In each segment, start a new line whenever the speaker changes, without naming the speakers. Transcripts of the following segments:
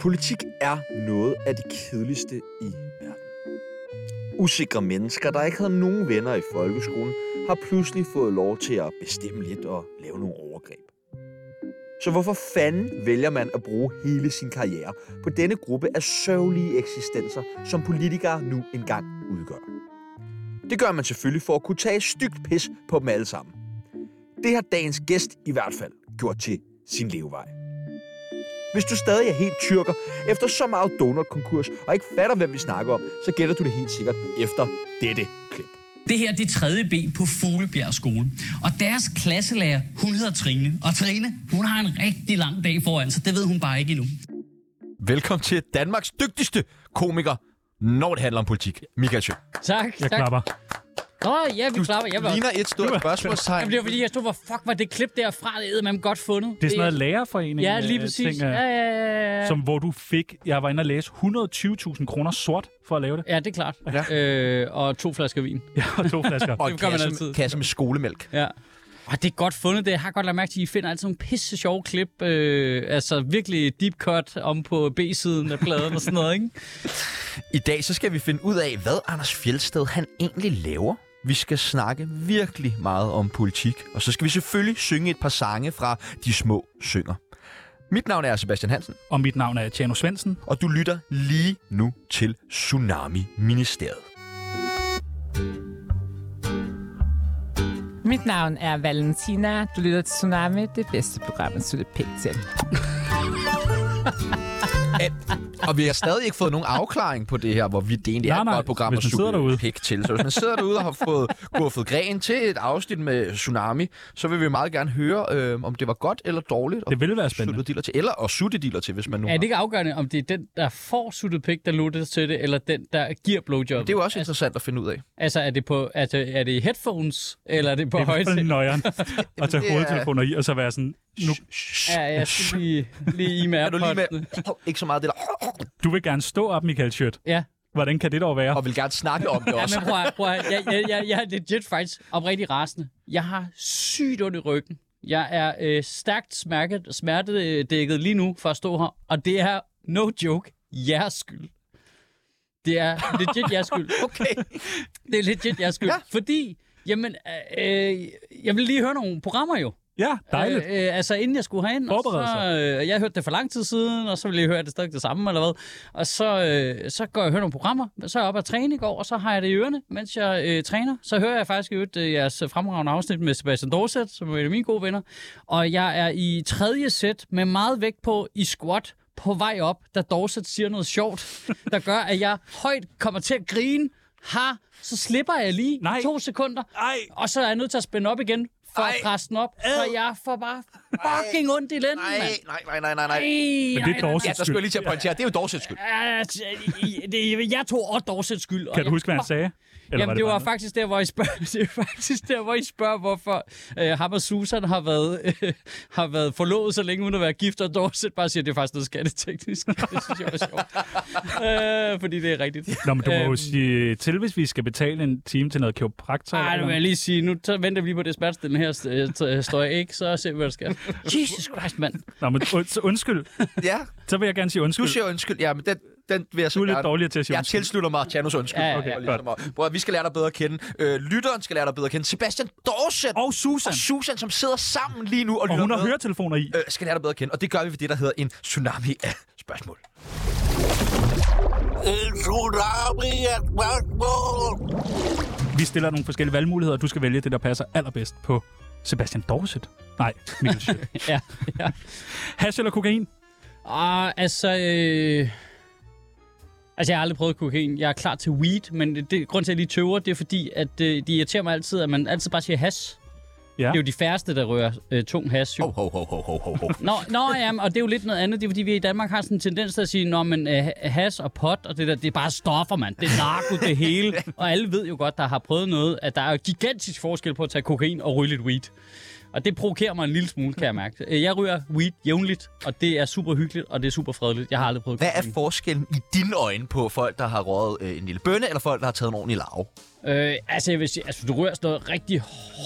Politik er noget af det kedeligste i verden. Usikre mennesker, der ikke havde nogen venner i folkeskolen, har pludselig fået lov til at bestemme lidt og lave nogle overgreb. Så hvorfor fanden vælger man at bruge hele sin karriere på denne gruppe af sørgelige eksistenser, som politikere nu engang udgør? Det gør man selvfølgelig for at kunne tage et stygt pis på dem alle sammen. Det har dagens gæst i hvert fald gjort til sin levevej. Hvis du stadig er helt tyrker efter så meget donut-konkurs og ikke fatter, hvem vi snakker om, så gætter du det helt sikkert efter dette klip.
Det her det er 3. B på Fuglebjerg skole. Og deres klasselærer, hun hedder Trine. Og Trine, hun har en rigtig lang dag foran sig. Det ved hun bare ikke endnu.
Velkommen til Danmarks dygtigste komiker, når det handler om politik. Michael Schøn.
Tak,
Jeg
tak.
klapper.
Nå, ja, vi klapper. Jeg var også...
ligner et stort spørgsmålstegn.
Jamen, det var fordi, jeg stod, hvor fuck var det klip derfra, det man godt fundet.
Det er sådan noget lærerforening.
Ja, lige
øh,
præcis.
Ting,
ja,
ja.
ja, ja, ja.
Som hvor du fik, jeg var inde og læse 120.000 kroner sort for at lave det.
Ja, det er klart.
Ja.
Øh, og to flasker vin.
Ja, og to flasker.
Og
det
en
gør man
kasse,
altid.
kasse med skolemælk.
Ja. Og det er godt fundet, det. Jeg har godt lagt mærke til, at I finder altid nogle pisse sjove klip. Øh, altså virkelig deep cut om på B-siden af pladen og sådan noget, ikke?
I dag så skal vi finde ud af, hvad Anders Fjeldsted han egentlig laver. Vi skal snakke virkelig meget om politik, og så skal vi selvfølgelig synge et par sange fra De Små Synger. Mit navn er Sebastian Hansen,
Og mit navn er Tjano Svendsen.
og du lytter lige nu til Tsunami Ministeriet.
Mit navn er Valentina. Du lytter til Tsunami, det bedste program, at slutte pænt til.
Og vi har stadig ikke fået nogen afklaring på det her, hvor vi det egentlig er
Nej,
et
nej,
godt program
hvis
at
man sidder
suge
derude.
pik til. Så hvis man sidder derude og har fået guffet gren til et afsnit med Tsunami, så vil vi meget gerne høre, øh, om det var godt eller dårligt.
Det ville være spændende.
Suttediller til, eller og suttediller til, hvis man nu
Er
har.
det ikke afgørende, om det er den, der får suttet pik, der lutter til det, eller den, der giver blowjob?
Det er jo også interessant at finde ud af.
Altså, er det, på, er det, er det i headphones, eller er det på
Det er i hvert fald
højtale?
nøjeren at tage
det er-
hovedtelefoner i, og så være sådan, nu,
Ja, jeg skal lige, lige i med
Er du lige med?
AirPods'ene.
Ikke så meget det der.
du vil gerne stå op, Michael Schødt.
Ja.
Hvordan kan det dog være?
Og vil gerne snakke om det
Ja,
også.
men prøv, at- prøv at- jeg, jeg, jeg, jeg er legit faktisk oprigtig rasende. Jeg har sygt ondt i ryggen. Jeg er øh, stærkt smertet, smertedækket lige nu for at stå her, og det er no joke jeres skyld. Det er legit jeres skyld.
Okay.
Det er legit jeres skyld. Ja. Fordi, jamen, øh, øh, jeg vil lige høre nogle programmer jo.
Ja, dejligt.
Øh, øh, altså, inden jeg skulle herind. og
Forberede
så, øh, jeg hørte det for lang tid siden, og så ville jeg høre, at det stadig det samme, eller hvad. Og så, øh, så går jeg og hører nogle programmer, men så er jeg oppe og træne i går, og så har jeg det i ørerne, mens jeg øh, træner. Så hører jeg faktisk i øvrigt øh, jeres fremragende afsnit med Sebastian Dorset, som er en af mine gode venner. Og jeg er i tredje sæt med meget vægt på i squat på vej op, da Dorset siger noget sjovt, der gør, at jeg højt kommer til at grine. Ha, så slipper jeg lige
Nej.
to sekunder,
Ej,
og så er jeg nødt til at spænde op igen for Ej. at presse den op. Så jeg får bare fucking ondt i lænden,
Nej,
mand.
nej, nej, nej, nej, nej.
Ej,
men det er
ej,
Ja,
Dorsets
der skulle jeg lige til at pointere. Det er jo Dorsets skyld.
ej, ej, det- Jeg tog også Dorsets skyld. og
Kan du
jeg-
huske, hvad han sagde? Eller
Jamen, det
bare
var
noget?
faktisk der, hvor I spørger, det er faktisk der, hvor I spørger hvorfor øh, ham og Susan har været, øh, har været forlovet så længe, uden at være gift, og Dorset bare siger, at det er faktisk noget skatteteknisk. Det synes jeg var sjovt. øh, fordi det er rigtigt.
Nå, men du må jo
Øhm.
sige til, hvis vi skal betale en time til noget kiropraktor.
Ej, nu
eller
vil jeg
noget.
lige sige, nu t- venter vi lige på det smertestillende her, øh, t- står jeg ikke, så ser vi, hvad der sker. Jesus Christ, mand.
Nå, men und- så undskyld.
Ja,
Så vil jeg gerne sige
du
undskyld.
siger undskyld. Ja, men den, den vil jeg så
Du er lidt
gerne-
dårligere til at sige
Jeg
undskyld.
tilslutter mig Tjanos undskyld.
Ja, ja,
ja.
godt. Bror, vi skal lære dig bedre at kende. Øh, lytteren skal lære dig bedre at kende. Sebastian Dorset
Og Susan.
og Susan, som sidder sammen lige nu og,
Og
lytter
hun har
med,
høretelefoner i.
øh, skal lære dig bedre at kende. Og det gør vi ved det, der hedder en tsunami af spørgsmål.
Vi stiller nogle forskellige valgmuligheder, og du skal vælge det, der passer allerbedst på Sebastian Dorset. Nej, Mikkel Schødt.
Ja, ja.
Hash eller kokain?
Ah, altså, øh... Altså, jeg har aldrig prøvet kokain. Jeg er klar til weed, men det, det, grunden til, at jeg lige tøver, det er fordi, at øh, det irriterer mig altid, at man altid bare siger hash.
Ja.
Det er jo de færreste, der rører øh, tung hash, jo.
Ho, ho, ho, ho, ho, ho, ho.
Nå, nå ja, men- og det er jo lidt noget andet. Det er fordi, vi i Danmark har sådan en tendens til at sige, at øh, has og pot og det der, det er bare stoffer, mand. Det er narko, det hele. Og alle ved jo godt, der har prøvet noget, at der er jo gigantisk forskel på at tage kokain og ryge lidt weed. Og det provokerer mig en lille smule, kan jeg mærke. Øh, Jeg ryger weed jævnligt, og det er super hyggeligt, og det er super fredeligt. Jeg har aldrig prøvet
Hvad er
kokain.
forskellen i dine øjne på folk, der har røget øh, en lille bønne, eller folk, der har taget en ordentlig larve?
Øh, altså, jeg vil sige, altså, du rører sådan noget rigtig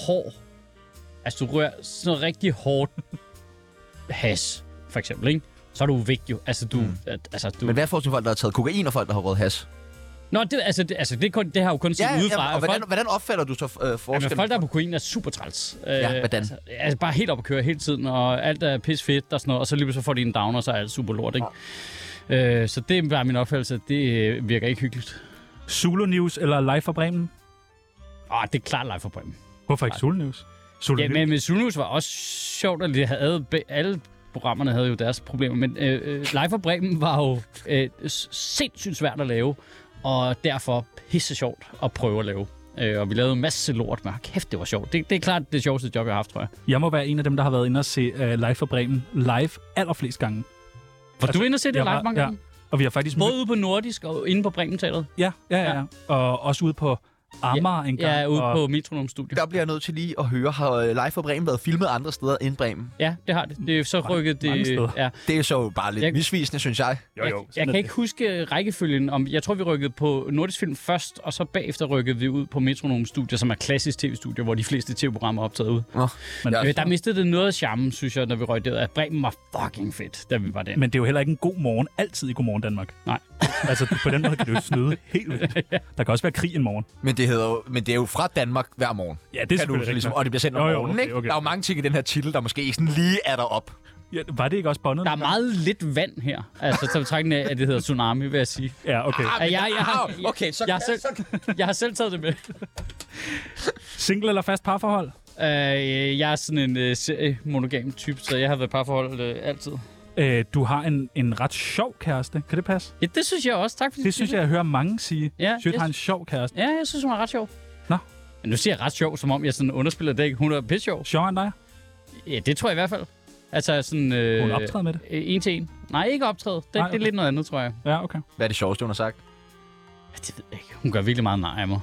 hård Altså, du rører sådan noget rigtig hårdt has, for eksempel, ikke? Så er du væk jo. Altså, du... Mm. Altså, du...
Men hvad er forskellen på folk, der har taget kokain, og folk, der har røget has?
Nå, det, altså, det, altså, det, er kun, det har jeg jo kun set
Ja,
udefra.
ja, og
at
hvordan,
folk,
hvordan opfatter du så øh,
jamen,
forskellen?
folk, der er på kokain, er super træls. Øh,
Ja, hvordan?
Altså, altså, bare helt op at køre hele tiden, og alt er pis fedt og sådan noget, og så lige så får de en downer, og så er alt super lort, ikke? Øh, så det er bare min opfattelse, at det øh, virker ikke hyggeligt.
Zulu News eller Live fra Bremen?
Åh, Ah, det er klart live for Bremen.
Hvorfor ikke Zulu News? Zulu
Ja,
News.
men, men Zulus var også sjovt, at de havde, be- alle programmerne havde jo deres problemer, men øh, øh, Live for Bremen var jo øh, s- sindssygt svært at lave, og derfor pisse sjovt at prøve at lave. Øh, og vi lavede en masse lort, men hold kæft, det var sjovt. Det, det er klart det sjoveste job, jeg har haft, tror jeg.
Jeg må være en af dem, der har været inde og se uh, Live fra Bremen live allerflest gange.
Var altså, du inde og se det
jeg
live
var-
mange
ja.
gange?
Og vi har faktisk...
Både ude på Nordisk og inde på Bremen Teateret.
Ja, ja, ja, ja. Og også ude på Amager en gang.
Ja, ude
og
på Metronom Studio.
Der bliver jeg nødt til lige at høre, har øh, Live for Bremen været filmet andre steder end Bremen?
Ja, det har det. det er så rykket det...
mange steder.
Ja.
Det er så bare lidt
Jeg-
jeg... misvisende, synes jeg.
Jo, jo.
Jeg, jeg kan ikke huske øh, rækkefølgen. Om, jeg tror, vi rykkede på Nordisk Film først, og så bagefter rykkede vi ud på Metronom Studio, som er klassisk tv-studio, hvor de fleste tv-programmer er optaget ud.
Nå.
Men,
Ja.
Øh, der mistede det noget af charmen, synes jeg, når vi røg derud. At Bremen var fucking fedt, da vi var der.
men det er jo heller ikke en god morgen altid i Godmorgen Danmark.
Nej.
altså, på den måde kan det jo snyde helt vildt. Der kan også være krig en morgen.
Men det, hedder jo, men det er jo fra Danmark hver morgen.
Ja, det er
kan du,
selvfølgelig rigtigt
ligesom,
nok.
og det bliver sendt om
Jo, jo,
morgenen,
okay,
ikke?
okay.
Der er jo mange ting i den her titel, der måske ikke sådan lige er der op.
Ja, var det ikke også bondet?
Der er meget lidt vand her. Altså, så betragtning af, at det hedder tsunami, vil jeg sige.
Ja, okay.
Ja, jeg, jeg, har,
Au, okay, så-
jeg, har selv, jeg har selv taget det med.
Single eller fast parforhold?
Øh, jeg er sådan en øh, serie-monogam type, så jeg har været i parforhold øh, altid.
Øh, du har en, en ret sjov kæreste. Kan det passe?
Ja, det synes jeg også. Tak fordi du
Det synes jeg, jeg hører mange sige.
Ja,
synes,
det-
har en sjov kæreste.
Ja, jeg synes, hun er ret sjov.
Nå.
Men nu siger jeg ret sjov, som om jeg sådan underspiller det ikke. Hun er pisse sjov.
Sjovere end dig?
Ja, det tror jeg i hvert fald. Altså sådan... Øh,
Hun optræder med det.
Øh, en til en. Nej, ikke optræde. Det,
Nej,
det er
okay.
lidt noget andet, tror jeg.
Ja, okay.
Hvad er det sjoveste, hun har sagt?
Ja, det ved jeg ikke. Hun gør virkelig meget nej af mig.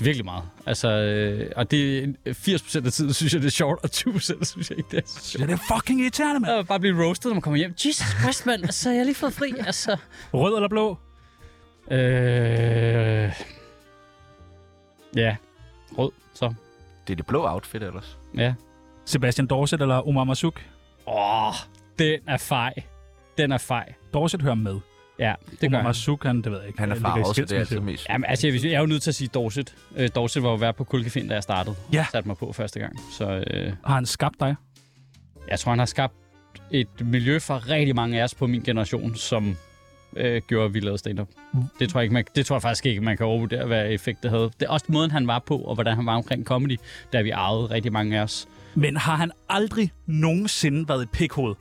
Virkelig meget. Altså, øh, og det er 80% af tiden, synes jeg, det er sjovt, og 20% synes jeg ikke, det er så
Ja,
sjovt.
det er fucking irriterende, mand.
Jeg vil bare blive roasted, når man kommer hjem. Jesus Christ, mand. Altså, jeg har lige fået fri, altså.
Rød eller blå?
Øh... Ja. Rød, så.
Det er det blå outfit ellers.
Ja.
Sebastian Dorset eller Omar Masuk?
Åh, oh, den er fej. Den er fej.
Dorset hører med.
Ja, det gør
Omar
han.
Masuk, han, det ved jeg ikke.
Han er
han ligger i
farvet, så det er
skilsmisse.
altid mest.
Jamen, altså, jeg, jeg er jo nødt til at sige Dorset. Øh, Dorset var jo vært på Kulkefind, da jeg startede.
Ja.
Satte mig på første gang. Så øh,
Har han skabt dig?
jeg tror, han har skabt et miljø for rigtig mange af os på min generation, som øh, gjorde, at vi lavede stand-up. Mm. Det, tror jeg ikke, man, det tror jeg faktisk ikke, man kan overvurdere, hvad effekt det havde. Det er også måden, han var på, og hvordan han var omkring comedy, da vi arvede rigtig mange af os.
Men har han aldrig nogensinde været et pikhoved?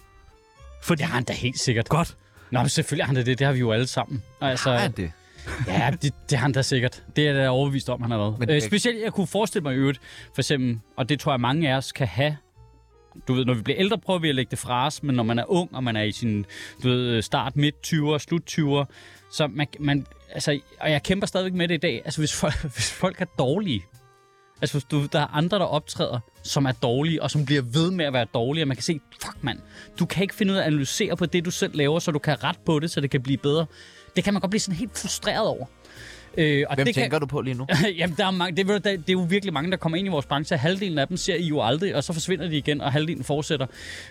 Fordi...
Det har han da helt sikkert.
Godt.
Nå, men selvfølgelig har han da det. Det har vi jo alle sammen. Altså,
Har han det?
Ja, det, det har han da sikkert. Det er jeg da overbevist om, han har været.
Men-
Øh, specielt, jeg kunne forestille mig i øvrigt, for eksempel, og det tror jeg, mange af os kan have. Du ved, når vi bliver ældre, prøver vi at lægge det fra os, men når man er ung, og man er i sin du ved, start, midt 20'er, slut 20'er, så man, man, altså, og jeg kæmper stadigvæk med det i dag, altså hvis folk, hvis folk er dårlige, altså hvis du, der er andre, der optræder, som er dårlige, og som bliver ved med at være dårlige, og man kan se, fuck mand, du kan ikke finde ud af at analysere på det, du selv laver, så du kan rette på det, så det kan blive bedre. Det kan man godt blive sådan helt frustreret over. Øh, og
Hvem
det kan,
tænker du på lige nu?
Jamen, der er mange, det, er, vel- der- det er jo virkelig mange, der kommer ind i vores branche. Halvdelen af dem ser I jo aldrig, og så forsvinder de igen, og halvdelen fortsætter.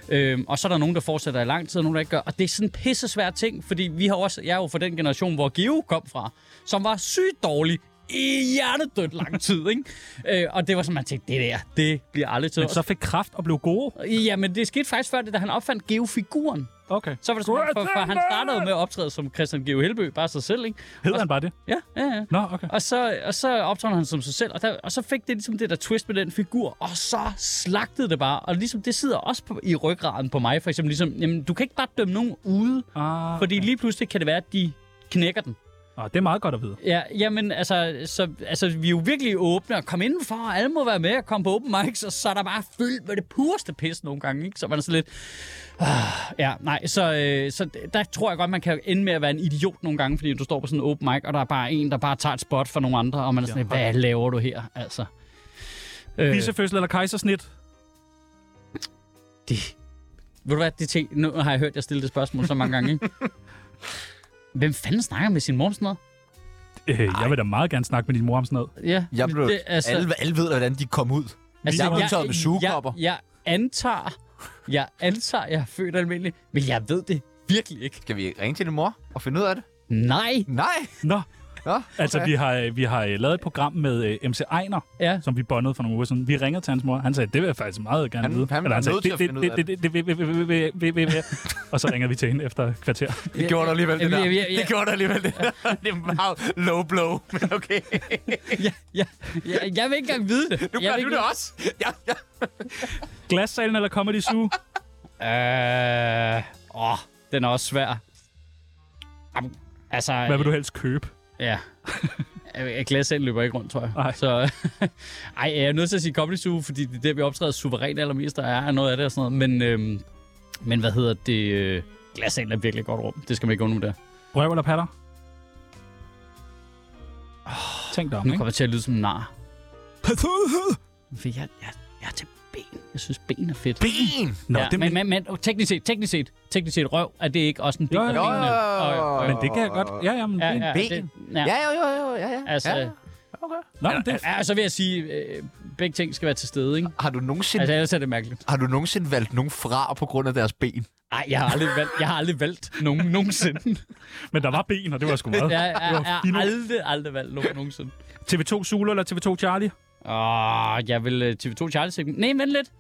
Øhm, og så er der nogen, der fortsætter i lang tid, og nogen, der ikke gør. Og det er sådan en pissesvær ting, fordi vi har også, jeg er jo fra den generation, hvor Geo kom fra, som var sygt dårlig i hjernedødt lang tid, ikke? Øh, og det var sådan, man tænkte, det der, det bliver aldrig til.
Men så fik kraft og blev gode.
Jamen, det skete faktisk før det, da han opfandt Geo-figuren.
Okay.
Så var det sådan, for, for han startede jo med at optræde som Christian Geo Helbø, bare sig selv, ikke?
Hedder han bare det?
Ja, ja, ja.
Nå, okay.
Og så, og så optræder han som sig selv, og, der, og så fik det ligesom det der twist med den figur, og så slagtede det bare. Og ligesom det sidder også på, i ryggraden på mig, for eksempel. Ligesom, jamen, du kan ikke bare dømme nogen ude,
Ah,
fordi lige pludselig kan det være, at de knækker den.
ah, det er meget godt at vide.
Ja, jamen, altså, så, altså, vi er jo virkelig åbne og kom indenfor, og alle må være med og komme på open mics, og så er der bare fyldt med det pureste pis nogle gange, ikke? Så man er sådan lidt... Ah, ja, nej, så, øh, så der tror jeg godt, man kan ende med at være en idiot nogle gange, fordi du står på sådan en open mic, og der er bare en, der bare tager et spot for nogle andre, og man er sådan lidt, hvad laver du her, altså? Øh,
Bissefødsel eller kejsersnit?
det... Ved du hvad, det ting, nu har jeg hørt jeg stille det spørgsmål så mange gange, ikke? Hvem fanden snakker med sin mor om sådan noget?
Øh, jeg vil da meget gerne snakke med din mor om sådan noget.
Ja,
Jeg blev,
det, altså-
altså... alle, alle ved, hvordan de kom ud. Altså, jeg er udtaget med sugekopper.
Jeg, jeg antager, jeg antager, jeg er født almindelig, men jeg ved det virkelig ikke.
Skal vi ringe til din mor og finde ud af det?
Nej.
Nej!
Nå,
Nå,
altså vi har, vi har øh, lavet et program med øh, MC Ejner,
Ja.
som vi bondede for nogle uger siden. Vi ringede til hans mor. Han sagde, det vil jeg faktisk meget gerne
Han-
vide.
han
Eller
er
sagde,
nødt til
"Det-
at finde ud af
det- det- det- det- det- det- det- det- det- det." Og så ringer vi til hende efter et kvarter.
Det gjorde der alligevel, det
Jamen,
der.
jeg- jeg-
Det gjorde der alligevel, det der. Det er meget low blow, men okay.
Jeg, jeg, jeg, jeg vil ikke engang vide det.
Nu
jeg
gør
vil
du
ikke-
det også. Ja, ja.
Glassalen eller Comedy Zoo?
Øh, åh, den er også svær. Am, altså,
Hvad vil du helst købe?
ja. Øh, Glas selv løber ikke rundt, tror jeg.
Nej.
Så, ej, jeg er nødt til at sige Comedy Zoo, fordi det er der, vi optræder suverænt allermest, der er noget af det og sådan noget. Men, øhm, men hvad hedder det? Øh, Glassalen er virkelig et godt rum. Det skal man ikke undgå der.
Røv eller patter? Tænk dig om,
Nu
ikke?
kommer jeg til at lyde som en nar. For jeg, jeg, jeg er til ben. Jeg synes, ben er fedt.
Ben!
Nå,
ja,
det,
men, men, men, teknisk set, teknisk set, teknisk set røv, er det ikke også en del
Jo,
af
jo,
benene? Og- og-
men det kan jeg godt. Ja, ja, men det-
Ben.
Ja,
Ja,
ja.
jo, jo, jo, ja, ja.
Altså,
ja.
Nå, men det er
ja, så vil jeg sige, øh, begge ting skal være til stede, ikke?
Har du nogensinde,
Altså,
altså,
ellers er det mærkeligt.
har du nogensinde valgt nogen fra på grund af deres ben?
Nej, jeg har aldrig valgt, jeg har aldrig valgt nogen nogensinde.
Men der var ben, og det var sgu meget.
Jeg, jeg,
Det var
jeg har
fint.
aldrig, aldrig valgt nogen nogensinde.
TV2 Zulu eller TV2 Charlie?
Åh, jeg vil øh, TV2 Charlie segment. Nej, vent lidt.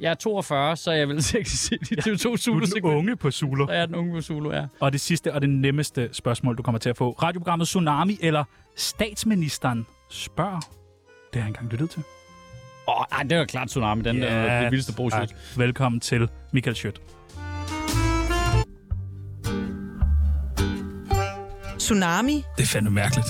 Jeg er 42, så jeg vil sikkert sige de TV2
Du
Zulu
er den
segment.
unge på Zulu.
Så jeg er den unge på Zulu, ja.
Og det sidste og det nemmeste spørgsmål, du kommer til at få. Radioprogrammet Tsunami eller statsministeren spørger? Det har jeg engang lyttet til.
Åh, ej, det var klart Tsunami, den yeah. er det vildeste bullshit.
tak. Velkommen til Michael Schødt.
Tsunami.
Det er fandme mærkeligt.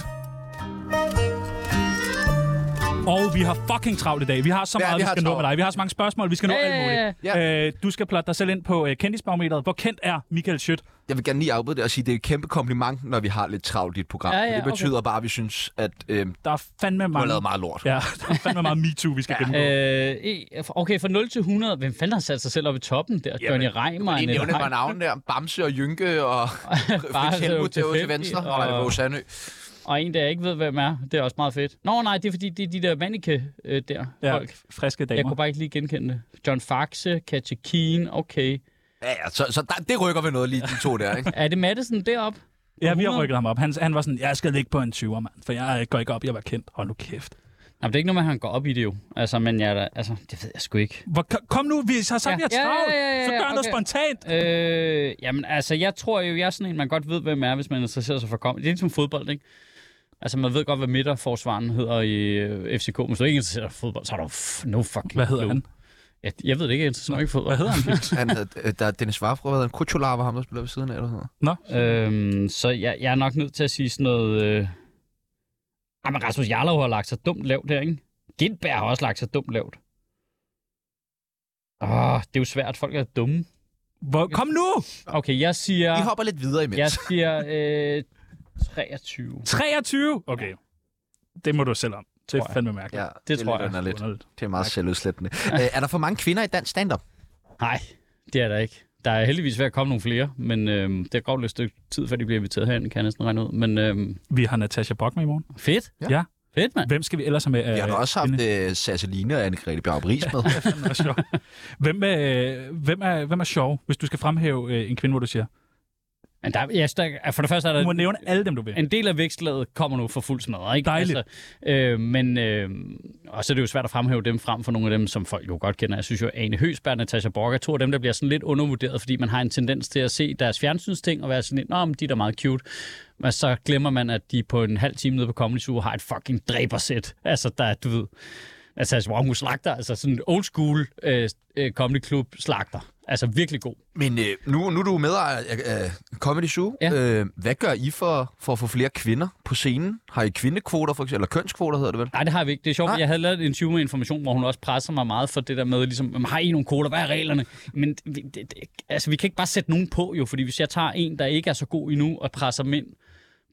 Og vi har fucking travlt i dag. Vi har så
Ja,
meget,
vi
vi,
har
skal nå
travlt.
med dig. Vi har så mange spørgsmål, vi skal nå
Ja,
alt
ja, ja,
muligt. Øh, du skal plotte dig selv ind på øh, kendisbarometeret. Hvor kendt er Michael Schødt?
Jeg vil gerne lige afbryde det og sige, at det er et kæmpe kompliment, når vi har lidt travlt i et program.
Ja,
For
ja,
det betyder bare, at vi synes, at øh, du
Der er fandme
har
mange...
lavet meget lort.
Ja, der er fandme meget MeToo, vi skal ja. gennemgå.
Øh, e- okay, fra 0 til 100. Hvem fanden har sat sig selv op i toppen der? Johnny Reimer,
Lige
Annette
nævne et par
Heick.
navne der. Bamse og Jynke og Fritz
Helmut
Helmut
til
til, til
Fem-
venstre.
og-
Og nej, det var Sandø.
Og en, der jeg ikke ved, hvem er. Det er også meget fedt. Nå, nej, det er fordi, det er de der manike øh, der. Ja.
Ja,
Folk.
friske
Jeg
damer.
kunne bare ikke lige genkende det. John Faxe, Katja Keen, okay.
Ja, ja, så, så der, det rykker vi noget lige de to der, ikke?
Er det Madison derop?
Ja, vi har
100.
rykket ham op. Han, han var sådan, jeg skal ligge på en 20'er, mand, for jeg øh, går ikke op, jeg var kendt. Hold nu kæft.
Nå, men det er ikke noget med, at han går op i det jo. Altså, men jeg er da, altså, det ved jeg sgu ikke.
Hvor, ko- kom nu, vi har sagt,
Ja.
vi har
Ja, ja,
travlt.
ja, ja,
Så
ja,
gør noget
okay.
spontant.
Øh, jamen, altså, jeg tror jo, jeg er sådan en, man godt ved, hvem er, hvis man interesserer sig for comedy. Det er ligesom fodbold, ikke? Altså, man ved godt, hvad midterforsvaren hedder i øh, FCK, men hvis du ikke interesserer dig for fodbold, så er du f- no fucking
Hvad hedder
clue.
han?
Jeg, jeg ved det ikke, jeg interesserer mig ikke for fodbold. Hvad hedder han?
Han havde, øh, der er Dennis Vafro, hvad hedder han? Kucholar var ham, der spiller ved siden af, eller sådan noget.
Øhm, så jeg, jeg er nok nødt til at sige sådan noget... Øh... Jamen, Rasmus Jarlov har lagt sig dumt lavt der, ikke? Gindberg har også lagt sig dumt lavt. Åh, det er jo svært. Folk er dumme.
Hvor, kom nu!
Okay, jeg siger...
Vi hopper lidt videre
Jeg
imens.
siger øh, 23.
23! Okay. Det må du selv om. Det
Tror
er
jeg.
fandme mærkeligt.
det tror
lidt
jeg.
underligt.
Underligt.
Det er meget selvudslættende. Øh, er der for mange kvinder i dansk stand-up?
Nej, det er der ikke. Der er heldigvis ved at komme nogle flere, men øhm, det går lidt et stykke tid, før de bliver inviteret herind, kan jeg næsten regne ud. Men øhm,
Vi har Natasha Bock med i morgen.
fedt.
Ja.
Ja.
Fedt, mand.
Hvem skal vi ellers have med?
Vi har da
øh,
også haft
kvinde?
øh, Sasse Line og Anne-Grethe Bjarup Riis med.
Fandme også sjov. hvem, er, hvem, er, hvem er sjov, hvis du skal fremhæve øh, en kvinde, hvor du siger? "Øh,
Men der, jeg, der, for det første er der
Du må nævne alle dem, du vil.
en del af vækstlaget kommer nu for fuld smadret. Ikke?
Dejligt.
Altså, øh, men, øh, og så er det jo svært at fremhæve dem frem for nogle af dem, som folk jo godt kender. Jeg synes jo, Ane Høsberg og Natasha Borg er to af dem, der bliver sådan lidt undervurderet, fordi man har en tendens til at se deres fjernsynsting og være sådan lidt, nå, men de er da meget cute. Men så glemmer man, at de på en halv time nede på Comedy Zoo har et fucking dræbersæt. Altså, der er, du ved... Altså, hvor hun slagter, altså sådan en old school øh, øh, comedy club slagter. Altså virkelig god.
Men øh, nu, nu er du medejer af øh, Comedy Zoo.
Ja.
Øh, hvad gør I for, for at få flere kvinder på scenen? Har I kvindekvoter, for eksempel, eller kønskvoter hedder det vel?
Nej, det har vi ikke. Det er sjovt,
Nej.
Nej. jeg havde lavet et interview med Information, hvor hun også presser mig meget for det der med, ligesom, "Jamen, har I nogle koder, hvad er reglerne? Men vi, det, det, altså, vi kan ikke bare sætte nogen på, jo, fordi hvis jeg tager en, der ikke er så god endnu, og presser dem ind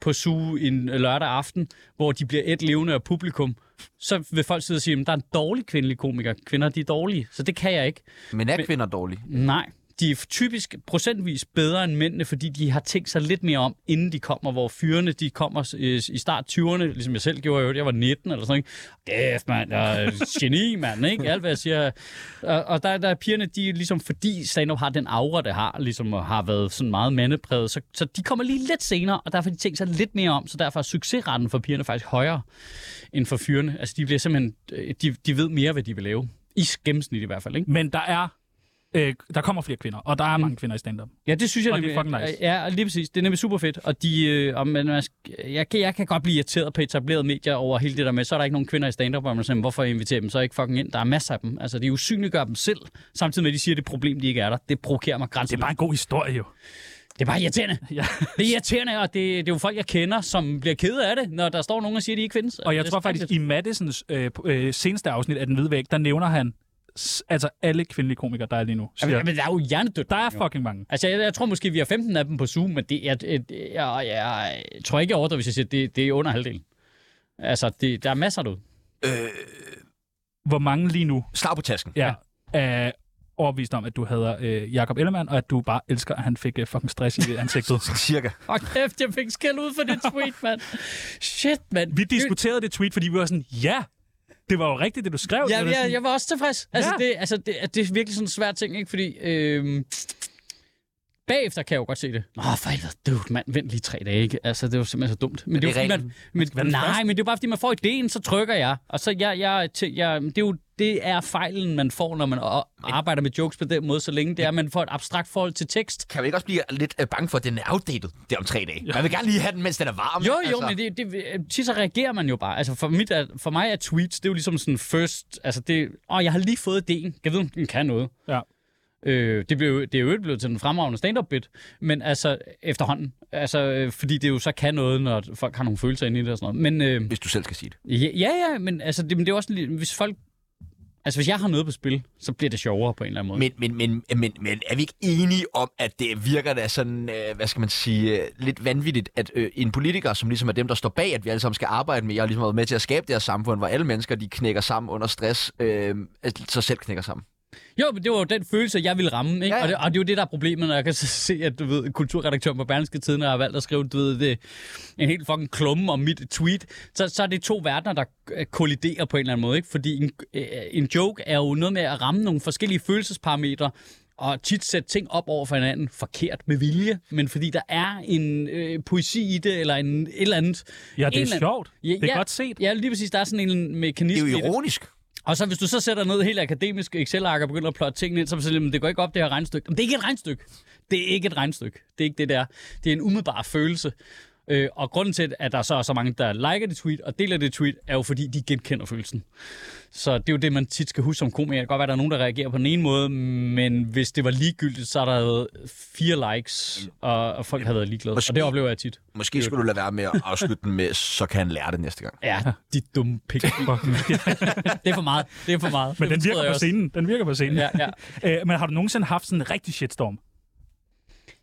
på suge en lørdag aften, hvor de bliver et levende af publikum, så vil folk sidde og sige, at der er en dårlig kvindelig komiker. Kvinder, de er dårlige. Så det kan jeg ikke.
Men er kvinder dårlige?
Nej, de er typisk procentvis bedre end mændene, fordi de har tænkt sig lidt mere om, inden de kommer, hvor fyrene de kommer i, i start 20'erne, ligesom jeg selv gjorde, i øvrigt. jeg var 19 eller sådan noget. Kæft, mand, jeg er geni, mand, ikke? Alt, hvad jeg siger. Og, og der, der er pigerne, de er ligesom, fordi stand-up har den aura, det har, ligesom og har været sådan meget mandepræget, så, så de kommer lige lidt senere, og derfor har de tænkt sig lidt mere om, så derfor er succesraten for pigerne faktisk højere end for fyrene. Altså, de bliver simpelthen, øh, de, de ved mere, hvad de vil lave. I gennemsnit i hvert fald, ikke?
Men der er... Øh, der kommer flere kvinder, og der
Mm.
er mange kvinder i stand-up.
Ja, det synes jeg
Og det er
nemlig-
fucking nice.
Ja, og lige præcis. Det er nemlig super fedt. Og, de, øh, og man, man, sk- jeg, kan, jeg kan godt blive irriteret på etablerede medier over hele det der med, så er der ikke nogen kvinder i stand-up, og man siger, "Men hvorfor inviterer dem så ikke fucking ind? Der er masser af dem. Altså, de usynliggør dem selv, samtidig med, at de siger, at det problem, de ikke er der. Det provokerer mig
Det
grænsen.
er bare en god historie, jo.
det er bare irriterende.
Ja.
Det er irriterende, og det, det er jo folk, jeg kender, som bliver kede af det, når der står nogen og siger, at de ikke findes.
Og jeg
Det er
tror
skrækkeligt.
faktisk, i Madisons øh, p- øh, seneste afsnit af Den Hvide Væg, der nævner han s- altså alle kvindelige komikere, der er lige nu. Siger,
Jamen, men der er jo hjernedødt.
der er fucking mange.
Altså, jeg, jeg tror måske, vi har 15 af dem på Zoom, men det er, jeg, jeg, jeg, jeg tror ikke, jeg overdriver, hvis jeg siger, at det, det er under halvdelen. Altså, det, der er masser derude.
Hvor mange lige nu
Øh, Slag på tasken.
ja, er overbevist om, at du hader øh, Jakob Ellemann, og at du bare elsker, at han fik øh, fucking stress i ansigtet.
Cirka.
Fuck kæft, jeg fik skæld ud for det tweet, mand. Shit, mand.
Vi diskuterede det tweet, fordi vi var sådan, ja, det var jo rigtigt, det du skrev. Det var
Ja, ja,
sådan,
jeg var også tilfreds. Altså,
Ja.
det, altså det, er- det er virkelig sådan en svær ting, ikke? Fordi øhm, bagefter kan jeg jo godt se det. Nå, for helvede, dude, mand, vent lige tre dage, ikke? Altså, det var simpelthen så dumt. Men det,
det
er jo fordi,
reglen.
man, men,
være den
nej,
første.
men det er bare, fordi man får ideen, så trykker jeg. Og så jeg, jeg, til- jeg det er jo det er fejlen, man får, når man a- arbejder med jokes på den måde, så længe det er, at man får et abstrakt forhold til tekst.
Kan man ikke også blive lidt øh, bange for, at den er outdated der om tre dage? Man vil gerne lige have den, mens den er varm. altså.
Jo, jo, men det, det, tit så reagerer man jo bare. Altså for, mit, er- for mig er tweets, det er jo ligesom sådan first, altså det, åh, jeg har lige fået idéen, jeg ved, om den kan noget.
Ja.
Øh, det, blev, det er jo ikke blevet til den fremragende stand-up bit, men altså efterhånden, altså øh, fordi det jo så kan noget, når folk har nogle følelser inde i det og sådan noget. Men øh,
Hvis du selv skal sige det.
ja, ja, ja, men altså det, men det er jo også, lidt- hvis folk, altså hvis jeg har noget på spil, så bliver det sjovere på en eller anden måde.
Men, men, men, men, men er vi ikke enige om, at det virker da sådan, øh, hvad skal man sige, øh, lidt vanvittigt, at øh, en politiker, som ligesom er dem, der står bag, at vi alle sammen skal arbejde med, jeg har ligesom været med til at skabe det her samfund, hvor alle mennesker, de knækker sammen under stress, øh, altså, så selv knækker sammen.
Jo, men det var jo den følelse, jeg ville ramme, ikke?
Ja,
Ja,
ja.
ja. Og, det, og det er jo det, der er problemet, når jeg kan så se, at du ved, kulturredaktøren på Berlingske Tiden har valgt at skrive du ved, det, en helt fucking klumme om mit tweet. Så, så er det to verdener, der øh, kolliderer på en eller anden måde, ikke? Fordi en, øh, en joke er jo noget med at ramme nogle forskellige følelsesparametre, og tit sætte ting op over for hinanden forkert med vilje, men fordi der er en øh, poesi i det, eller en, et eller andet.
ja,
en
det
eller
er
anden-
sjovt. Det er godt set.
Ja, lige præcis. Der er sådan en
Det
mekanisme
er
i
jo
det.
ironisk.
Og så hvis du så sætter noget helt akademisk Excel-ark og begynder at plotte tingene ind, så er man sådan, "Jamen, det går ikke op, det her regnstykke. Men det er ikke et regnstykke. Det er ikke et regnstykke. Det er ikke det der. Det er en umiddelbar følelse. Øh, og grunden til, at der så er så mange, der liker det tweet og deler det tweet, er jo fordi, de genkender følelsen. Så det er jo det, man tit skal huske som komiker. Det kan godt være, at der er nogen, der reagerer på den ene måde, men hvis det var ligegyldigt, så er der været fire likes, og, og folk har været ligeglade. Og det oplever jeg tit.
Måske skulle du lade være med at afslutte den med, så kan han lære det næste gang.
Ja, de dumme pik. det er for meget. Det er for meget.
Men
Det fortryder jeg
den virker på
også.
scenen. Den virker på scenen.
Ja, ja.
Øh, men har du nogensinde haft sådan en rigtig shitstorm?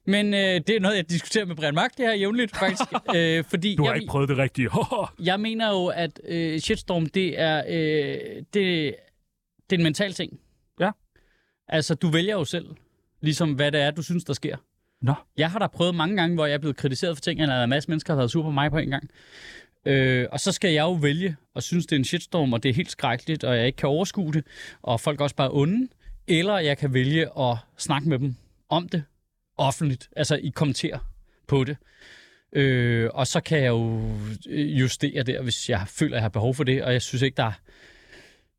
Men øh, det er noget, jeg diskuterer med Brian Mark, det her jævnligt faktisk. øh, fordi
Du har
jeg,
ikke prøvet det rigtige.
jeg mener jo, at øh, shitstorm, det er, øh, det, det er en mental ting.
Ja.
Altså, du vælger jo selv, ligesom hvad det er, du synes, der sker.
Nå.
Jeg har da prøvet mange gange, hvor jeg er blevet kritiseret for ting, eller en masse mennesker har været sur på mig på en gang. Øh, og så skal jeg jo vælge, og synes, det er en shitstorm, og det er helt skrækkeligt, og jeg ikke kan overskue det, og folk er også bare onde. Eller jeg kan vælge at snakke med dem om det offentligt, altså I kommenterer på det. Øh, og så kan jeg jo øh, justere der, hvis jeg føler, at jeg har behov for det, og jeg synes ikke, der er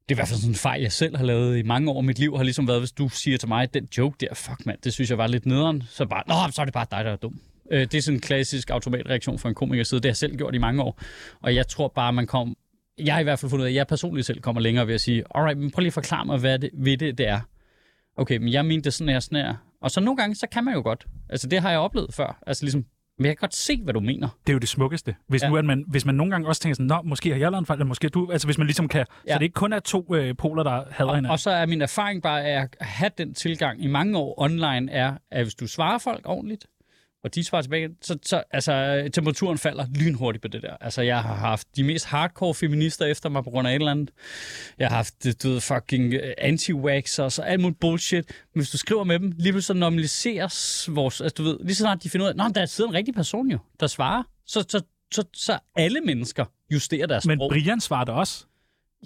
det er i hvert fald sådan en fejl, jeg selv har lavet i mange år. Mit liv har ligesom været, hvis du siger til mig, at den joke der, fuck mand, det synes jeg var lidt nederen. Så bare, nå, så er det bare dig, der er dum. Øh, det er sådan en klassisk automatreaktion fra en komiker side. Det har jeg selv gjort i mange år. Og jeg tror bare, man kom... Jeg har i hvert fald fundet ud af, at jeg personligt selv kommer længere ved at sige, alright, men prøv lige at forklare mig, hvad det, ved det, det er. Okay, men jeg mente det sådan her, sådan her. Og så nogle gange, så kan man jo godt. Altså, det har jeg oplevet før. Altså ligesom, men jeg kan godt se, hvad du mener.
Det er jo det smukkeste. Hvis, ja.
Ja.
nu, at man, hvis man nogle gange også tænker sådan, Nå, måske har jeg lavet en fejl, eller måske har du... Altså hvis man ligesom kan... Ja.
Ja.
Så det ikke kun er to øh, poler, der hader hinanden.
Og så er min erfaring bare, at at have den tilgang i mange år online, er, at hvis du svarer folk ordentligt, og de svarer tilbage, så, så altså, temperaturen falder lynhurtigt på det der. Altså, jeg har haft de mest hardcore feminister efter mig på grund af et eller andet. Jeg har haft, du ved, fucking øh, anti-waxers og alt muligt bullshit. Men hvis du skriver med dem, lige pludselig så normaliseres vores... Altså, du ved, lige så snart de finder ud af, at der er sidder en rigtig person jo, der svarer, så, så, så, så alle mennesker justerer deres
Men
sprog.
Brian svarer det også.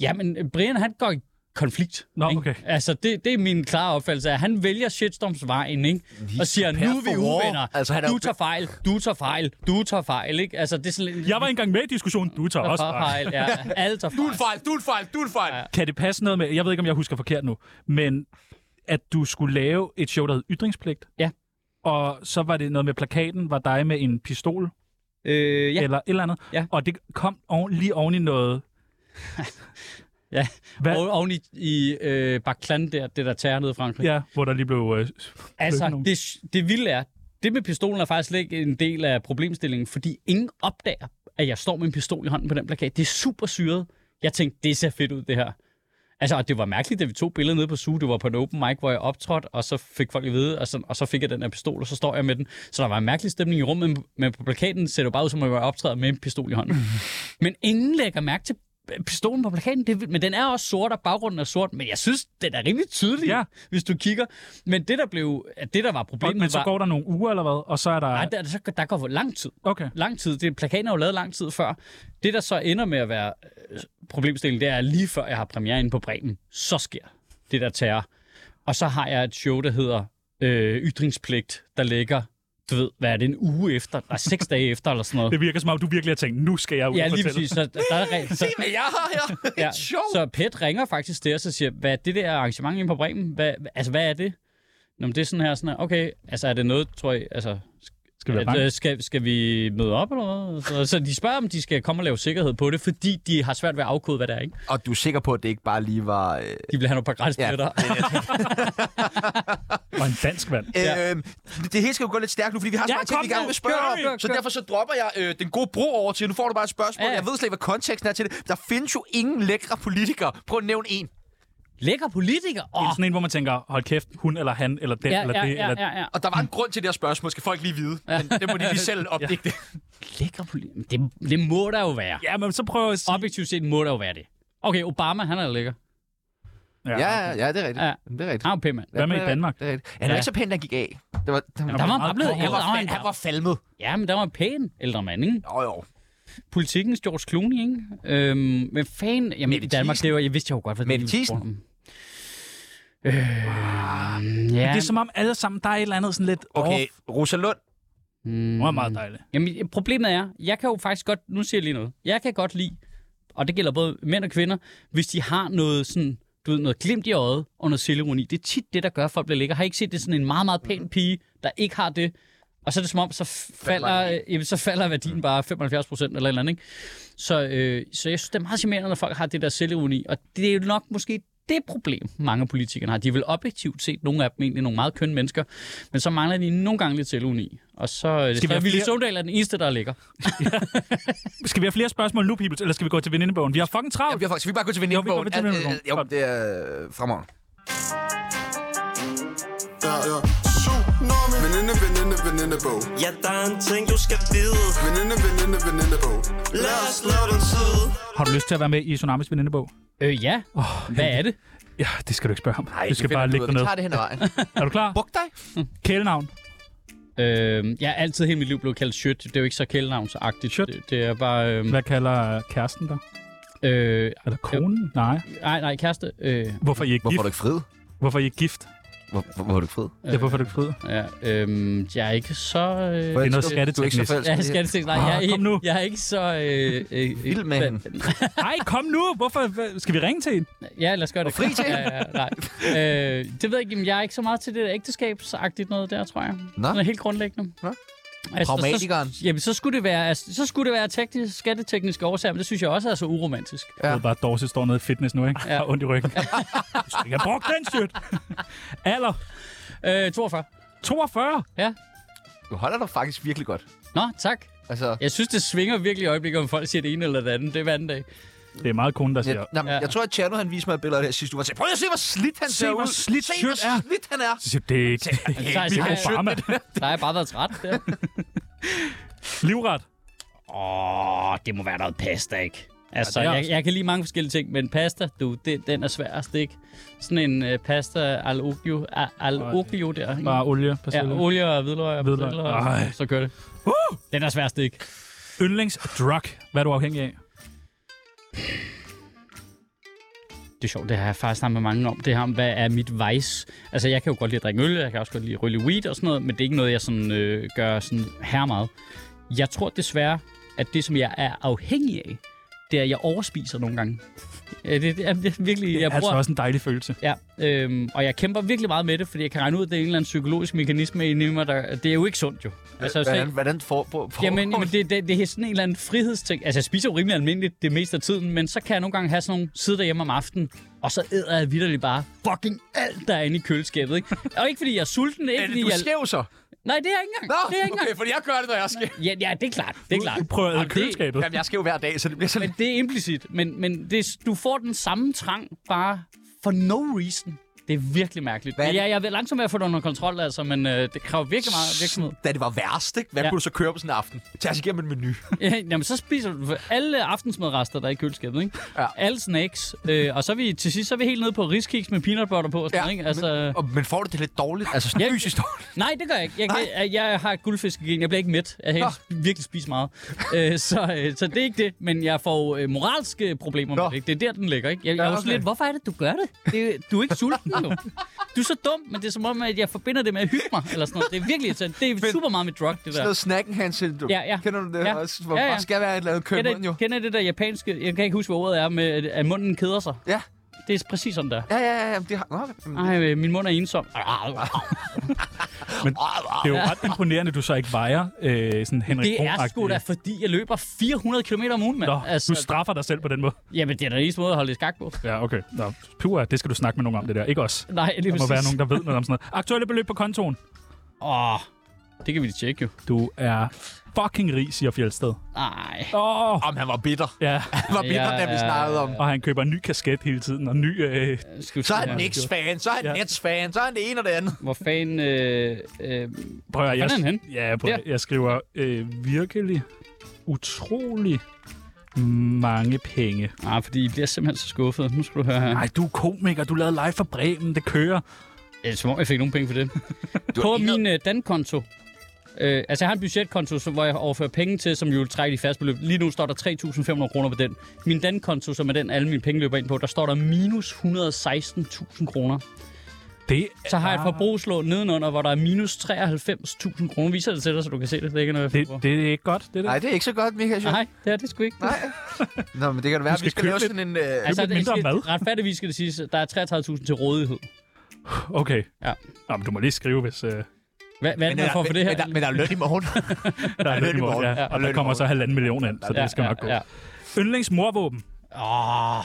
Ja, men Brian, han går i konflikt.
Nå,
ikke?
okay.
Altså, det, det er min klare opfattelse af, at han vælger shitstorms vejen, ikke? Og siger, nu er vi
for hårde.
uvenner.
Altså, han er
du
jo-
tager fejl, du tager fejl, du tager fejl, ikke? Altså, det er sådan lidt...
Jeg var engang med i diskussionen. Du tager
Jeg
også
tager
fejl.
fejl. Ja, alle tager fejl.
fejl, du er en fejl, du er en fejl.
Kan det passe noget med, jeg ved ikke, om jeg husker forkert nu, men at du skulle lave et show, der hed Ytringspligt?
Ja.
Og så var det noget med plakaten, var dig med en pistol
Øh, ja,
eller et eller andet.
Ja.
Og det kom oven, lige oven i noget.
Ja.
Hvad?
og oven i, i øh, Baklan der, det der terror nede i Frankrig.
Ja, hvor der lige blev... Øh,
Altså,
nogen.
det, det vilde er, det med pistolen er faktisk slet ikke en del af problemstillingen, fordi ingen opdager, at jeg står med en pistol i hånden på den plakat. Det er super syret. Jeg tænkte, det ser fedt ud, det her. Altså, og det var mærkeligt, da vi tog billeder nede på SU. Det var på en open mic, hvor jeg optrådte, og så fik folk at vide, og så, og så fik jeg den her pistol, og så står jeg med den. Så der var en mærkelig stemning i rummet, men- men på plakaten ser det jo bare ud, som om jeg optræder med en pistol i hånden. men ingen lægger mærke til pistolen på plakaten, det, er vildt. men den er også sort, og baggrunden er sort, men jeg synes, den er rimelig tydelig,
Ja.
ja. hvis du kigger. Men det, der blev, at det, der var
og,
problemet,
men så
var...
går der nogle uger eller hvad, og så er der...
Nej, der, der, der går lang tid
Okay.
lang tid. Det, plakaten er jo lavet lang tid før. Det, der så ender med at være øh, problemstillingen, det er at lige før jeg har premiere inde på Bremen, så sker det der terror. Og så har jeg et show, der hedder øh, Ytringspligt, der ligger, du ved, hvad er det, en uge efter, nej, seks dage efter eller sådan noget.
Det virker som om, du virkelig har tænkt, nu skal jeg ud
Ja,
og
lige
fortælle.
præcis. Så, der, der er, re- så,
Men jeg har her
ja.
et show.
så Pet ringer faktisk til os og siger, hvad er det der arrangement inde på Bremen? Hvad, altså, hvad er det? Nå, men det er sådan her, sådan her, okay, altså er det noget, tror jeg, altså
Skal vi være
at,
bange?
øh, skal, skal vi møde op eller hvad? Så, så de spørger, om de skal komme og lave sikkerhed på det, fordi de har svært ved at afkode, hvad det er. Ikke?
Og du er sikker på, at det ikke bare lige var... Øh,
De vil have nogle par
ja.
græsbilletter. Ja.
Og en dansk mand.
Ja.
Øh, det hele skal jo gå lidt stærkt nu, fordi vi har så
Ja,
mange ting,
kom
vi
nu.
gerne vil
Kør,
spørge
kør, kør.
om. Så derfor så dropper jeg øh, den gode bro over til, nu får du bare et spørgsmål.
Ja.
Jeg ved slet ikke, hvad konteksten er til det. Der findes jo ingen lækre politikere. Prøv at nævne en.
Lækker politiker!
Det er
Åh,
sådan en, hvor man tænker, hold kæft, hun eller han, eller den,
ja,
eller
ja,
det,
ja,
eller
ja, ja.
Og der var en grund til det her spørgsmål, skal folk lige vide. Men det må de lige selv opdægte.
Lækker politiker? Det, det må der jo være.
Ja, men så prøver jeg at sige...
Objektivt set må der jo være det. Okay, Obama, han er lækker.
Ja, ja, det er rigtigt.
Ja.
Det er rigtigt.
Han er jo pæn mand.
Hvad med i Danmark?
Det er rigtigt. Han er
Ja.
ikke så pæn, da han gik af. Det var, det var,
Der var han bare blevet
han,
ældre.
var,
Der var
han, han var falmet.
Ja, men der var en pæn ældre mand, ikke?
Jo, jo.
Politikens George Clooney, ikke? Øhm, men fan... Jamen,
Mette
i Danmark,
Thiesen.
det var... Jeg vidste jo godt, hvad
Mette
det var. Øh,
Ja.
ja,
Det er som om alle sammen, der er et eller andet sådan lidt...
Okay, Rosa Lund.
Mm.
Hun er meget dejlig.
Jamen, problemet er, jeg kan jo faktisk godt, nu siger jeg lige noget, jeg kan godt lide, og det gælder både mænd og kvinder, hvis de har noget sådan, du ved, noget glimt i øjet og noget selvironi. Det er tit det, der gør, at folk bliver lækker. Har I ikke set, det er sådan en meget, meget
Mhm.
pæn pige, der ikke har det, og så er det som om, så falder, øh, jamen, så falder
Mhm.
værdien bare 75 procent eller et eller andet, ikke? Så, øh, så jeg synes, det er meget charmerende, når folk har det der selvironi, og det er jo nok måske det problem, mange af politikerne har. De er vel objektivt set, nogle af dem egentlig nogle meget kønne mennesker, men så mangler de nogle gange lidt selvironi. Og så, øh,
Skal vi
så er
have
Ville
flere-
Søvndal er den eneste, der ligger.
Skal vi have flere spørgsmål nu, Pibels, eller skal vi gå til venindebogen? Vi har fucking
Ja,
travlt.
vi har faktisk, vi bare gå til
Jo, vi går
venindebogen. øh,
til venindebogen.
Jo, det er øh, fremragende.
Ja, ja. Tsunami. Veninde, veninde, venindebog.
Ja, der er en ting, du skal vide.
Veninde, veninde, venindebog.
Lad os slå den side.
Har du lyst til at være med i Tsunamis venindebog?
Øh, ja. Oh, Hvad er det?
Ja, det skal du ikke spørge om.
Ej,
du
det
skal
finder
bare
du
lægge
ud af.
dig ned.
Vi tager det hen ad vejen.
Er du klar?
Buk dig.
Kælenavn.
Øh, jeg er altid hele mit liv blevet kaldt Sjøt. Det er jo ikke så kælenavnsagtigt.
Sjøt?
Det, det er bare... Øh,
Hvad kalder kæresten dig?
øh,
Eller konen? Nej.
nej, nej, kæreste. Øh,
Hvorfor er I ikke
Hvorfor er
gift?
du ikke fred?
Hvorfor er I ikke gift?
Hvor, hvor, hvor er du ikke fred?
Ja, hvorfor er du ikke fred?
ja, øh, jeg er ikke så...
Du
Øh,
Det er noget
Du er ikke så
skatteteknisk.
jeg er
forelsket.
skatteting. Nej,
Ah,
jeg, er
kom
ikke,
nu.
jeg er ikke så... Øh, øh,
Vild med hende.
Nej, kom nu! Hvorfor? hvad- Skal vi ringe til hende?
Ja, lad os gøre det.
fri til.
ja, ja, nej. Øh, det ved jeg ikke, men jeg er ikke så meget til det der ægteskabsagtigt noget der, tror jeg.
Nå.
Sådan helt grundlæggende.
Nå.
Altså, så,
Pragmatikeren.
jamen, så skulle det være, altså, så skulle det være teknisk, skattetekniske årsager, men det synes jeg også er så uromantisk.
Ja.
Ja.
Jeg ved bare, at Dorse står nede i fitness nu, ikke?
Ja.
Ja. Har ondt i ryggen. Du skal ikke have brugt den shit. Alder.
Øh, 42.
42.
Du holder dig faktisk virkelig godt.
Nå, tak.
Altså,
Jeg synes, det svinger virkelig i øjeblikket, om folk siger det ene eller det andet. Det er hver anden dag.
Det er meget konen, der siger...
Jeg, nej, ja.
Ja.
jeg tror, at Tjerno han viste mig et billede af det her sidste uge. Han sagde, prøv lige at se, hvor slidt han
Se,
ser
hvor
ud.
slidt
se,
Sjøt
hvor
er."
slidt han er.
Så siger, jeg, det, det, det,
Så har altså, jeg-
det er Michael
så har
Obama.
Der har jeg bare været træt. Der.
Livret.
Åh, det må være noget pasta, ikke? Altså,
det er
jeg,
også-
jeg kan lide mange forskellige ting, men pasta, du, det, den er svær at stikke. Sådan en uh, pasta al oglio, a- al oglio der. ikke?
Bare olie, persille.
Ja, olie og hvidløg og
Hvidløg.
persiller,
Ej.
og så kører det. Den er svær at stikke.
Yndlingsdrug. Hvad er du afhængig af?
Det er sjovt, det har jeg faktisk snakket med mange om. Det her om, hvad er mit vice? Altså, jeg kan jo godt lide at drikke øl, jeg kan også godt lide at ryge lidt weed og sådan noget, men det er ikke noget, jeg sådan, øh, gør sådan her meget. Jeg tror desværre, at det, som jeg er afhængig af, det er, at jeg overspiser nogle gange. Ja, det, det er virkelig... Jeg
Det er altså også en dejlig følelse.
Ja, øhm, og jeg kæmper virkelig meget med det, fordi jeg kan regne ud, at det er en eller anden psykologisk mekanisme inde i mig, der, det er jo ikke sundt jo. Altså, så,
Hvordan, hvordan får... På, på,
jamen, jamen det, det, det, er sådan en eller anden frihedsting. Altså, jeg spiser jo rimelig almindeligt det meste af tiden, men så kan jeg nogle gange have sådan nogle sidde derhjemme om aftenen, og så æder jeg vidderligt bare fucking alt, der er inde i køleskabet, ikke? Og ikke fordi jeg er sulten, ikke
er det,
fordi
du
jeg...
skæv så?
Nej, det er jeg ikke engang.
Nå,
det er jeg ikke engang.
okay, fordi jeg gør det, når jeg er skæv.
Ja, ja, det er klart. Det er klart.
Du prøver at æde
Jamen, det-
køleskabet.
Jamen, jeg er skæv hver dag, så det bliver sådan...
Men det er implicit. Men, men det, du får den samme trang, bare for no reason. Det er virkelig mærkeligt.
Hvad er
Men
det?
ja, jeg vil langsomt være at få det under kontrol, altså, men øh, det kræver virkelig meget virksomhed.
da det var værst, ikke? Hvad ja.
Ja.
kunne du så køre på sådan en aften? Tag os igennem en menu.
Ja, Jamen, så spiser du alle aftensmadrester, der er i køleskabet, ikke?
Ja.
Alle snacks. Øh, og så er vi, til sidst så er vi helt nede på riskiks med peanut butter på og sådan,
Ja,
ja, ikke? Altså,
men, og, men får du det lidt dårligt? Altså sådan
Ja.
fysisk dårligt?
Nej, det gør jeg ikke. Jeg, jeg, jeg har et guldfiskegen. Jeg bliver ikke mæt. Jeg kan ikke virkelig spise meget. Æ, så, øh, så det er ikke det. Men jeg får øh, moralske problemer Nå.
Nå.
med det. ikke? Det er der, den ligger. Ikke? Jeg,
Ja,
jeg er også
okay.
lidt, hvorfor er det, du gør det? det du er ikke sulten nu. Du er så dum, men det er som om, at jeg forbinder det med at hygge mig. Eller sådan noget. Det er virkelig irriterende. Det er super meget med drug, det
Sådan
der.
noget snacken hand syndrom.
Ja, ja.
Kender du det
Ja.
også? Hvor
Ja, ja.
der skal være et eller andet køb
Kender,
munden jo.
kender I det der japanske, jeg kan ikke huske, hvad ordet er, med at- at munden keder sig.
Ja.
Det er præcis sådan der.
Ja, ja, ja. ja, Det har... Nå, jamen,
Ej, øh, min mund er ensom.
Det er jo ret imponerende, at du så ikke vejer øh, sådan Henrik
Det er sgu
Broen-agtig.
da, fordi jeg løber 400 km om ugen, mand.
Nå, altså, du
altså,
straffer dig selv på den måde.
jamen, det er da den eneste måde at holde det i skak på.
Ja, okay. Nå, puha, det skal du snakke med nogen om, det der. Ikke os.
Nej, lige
Der må
præcis.
være nogen, der ved noget om sådan noget. Aktuelle beløb på kontoen.
Åh, oh, det kan vi lige tjekke jo.
Du er fucking rig, siger Fjeldsted.
Nej.
Åh, oh,
Om han var bitter.
ja.
Han var bitter, da vi
Ja.
snakkede om.
Og han køber en ny kasket hele tiden, og en ny... Øh,
Skal vi
Så er
se
han
her.
Knicks-fan, så er han
Ja.
Nets-fan, så er han det ene og det andet.
Hvor fanden... Øh, øh,
prøv at, jeg,
Hvordan er han
ja, prøv, at- jeg skriver øh, virkelig utrolig mange penge.
nej, fordi I bliver simpelthen så skuffet. Nu skal du høre her.
Nej, du er komiker, du lavede live for Bremen, det kører.
Det er som om, jeg fik nogen penge for det. På min øh, dankonto. Øh, altså, jeg har en budgetkonto, som, hvor jeg overfører penge til, som jo vil trække de faste beløb. Lige nu står der 3.500 kroner på den. Min dankonto, som er den, alle mine penge løber ind på, der står der minus 116.000 kroner.
Det,
Så har
Ah.
jeg et forbrugslån nedenunder, hvor der er minus 93.000 kroner. Viser det til dig, så du kan se det. Det er ikke noget, jeg
det,
forbruger.
det er ikke godt, det der.
Nej, det er ikke så godt, Michael. Schødt.
Nej, det er det sgu ikke.
Nej. Nå, men det kan det være,
Du
at vi
skal
skal
købe
lave
lidt.
sådan en... Øh,
Altså, lidt mindre mad.
Retfærdigvis skal det siges, at der er 33.000 til rådighed.
Okay.
Ja.
Nå, men du må lige skrive, hvis øh, der
Hvad, hvad er det, man får for det her?
øh, men, der, men der er løn i morgen.
er
løn
lidt
i morgen.
Ja,
Ja,
og
løn
der
i
kommer
morgen.
så halvanden million ind, så
Ja,
det skal
ja,
nok gå.
Ja.
Yndlingsmorvåben.
Åh.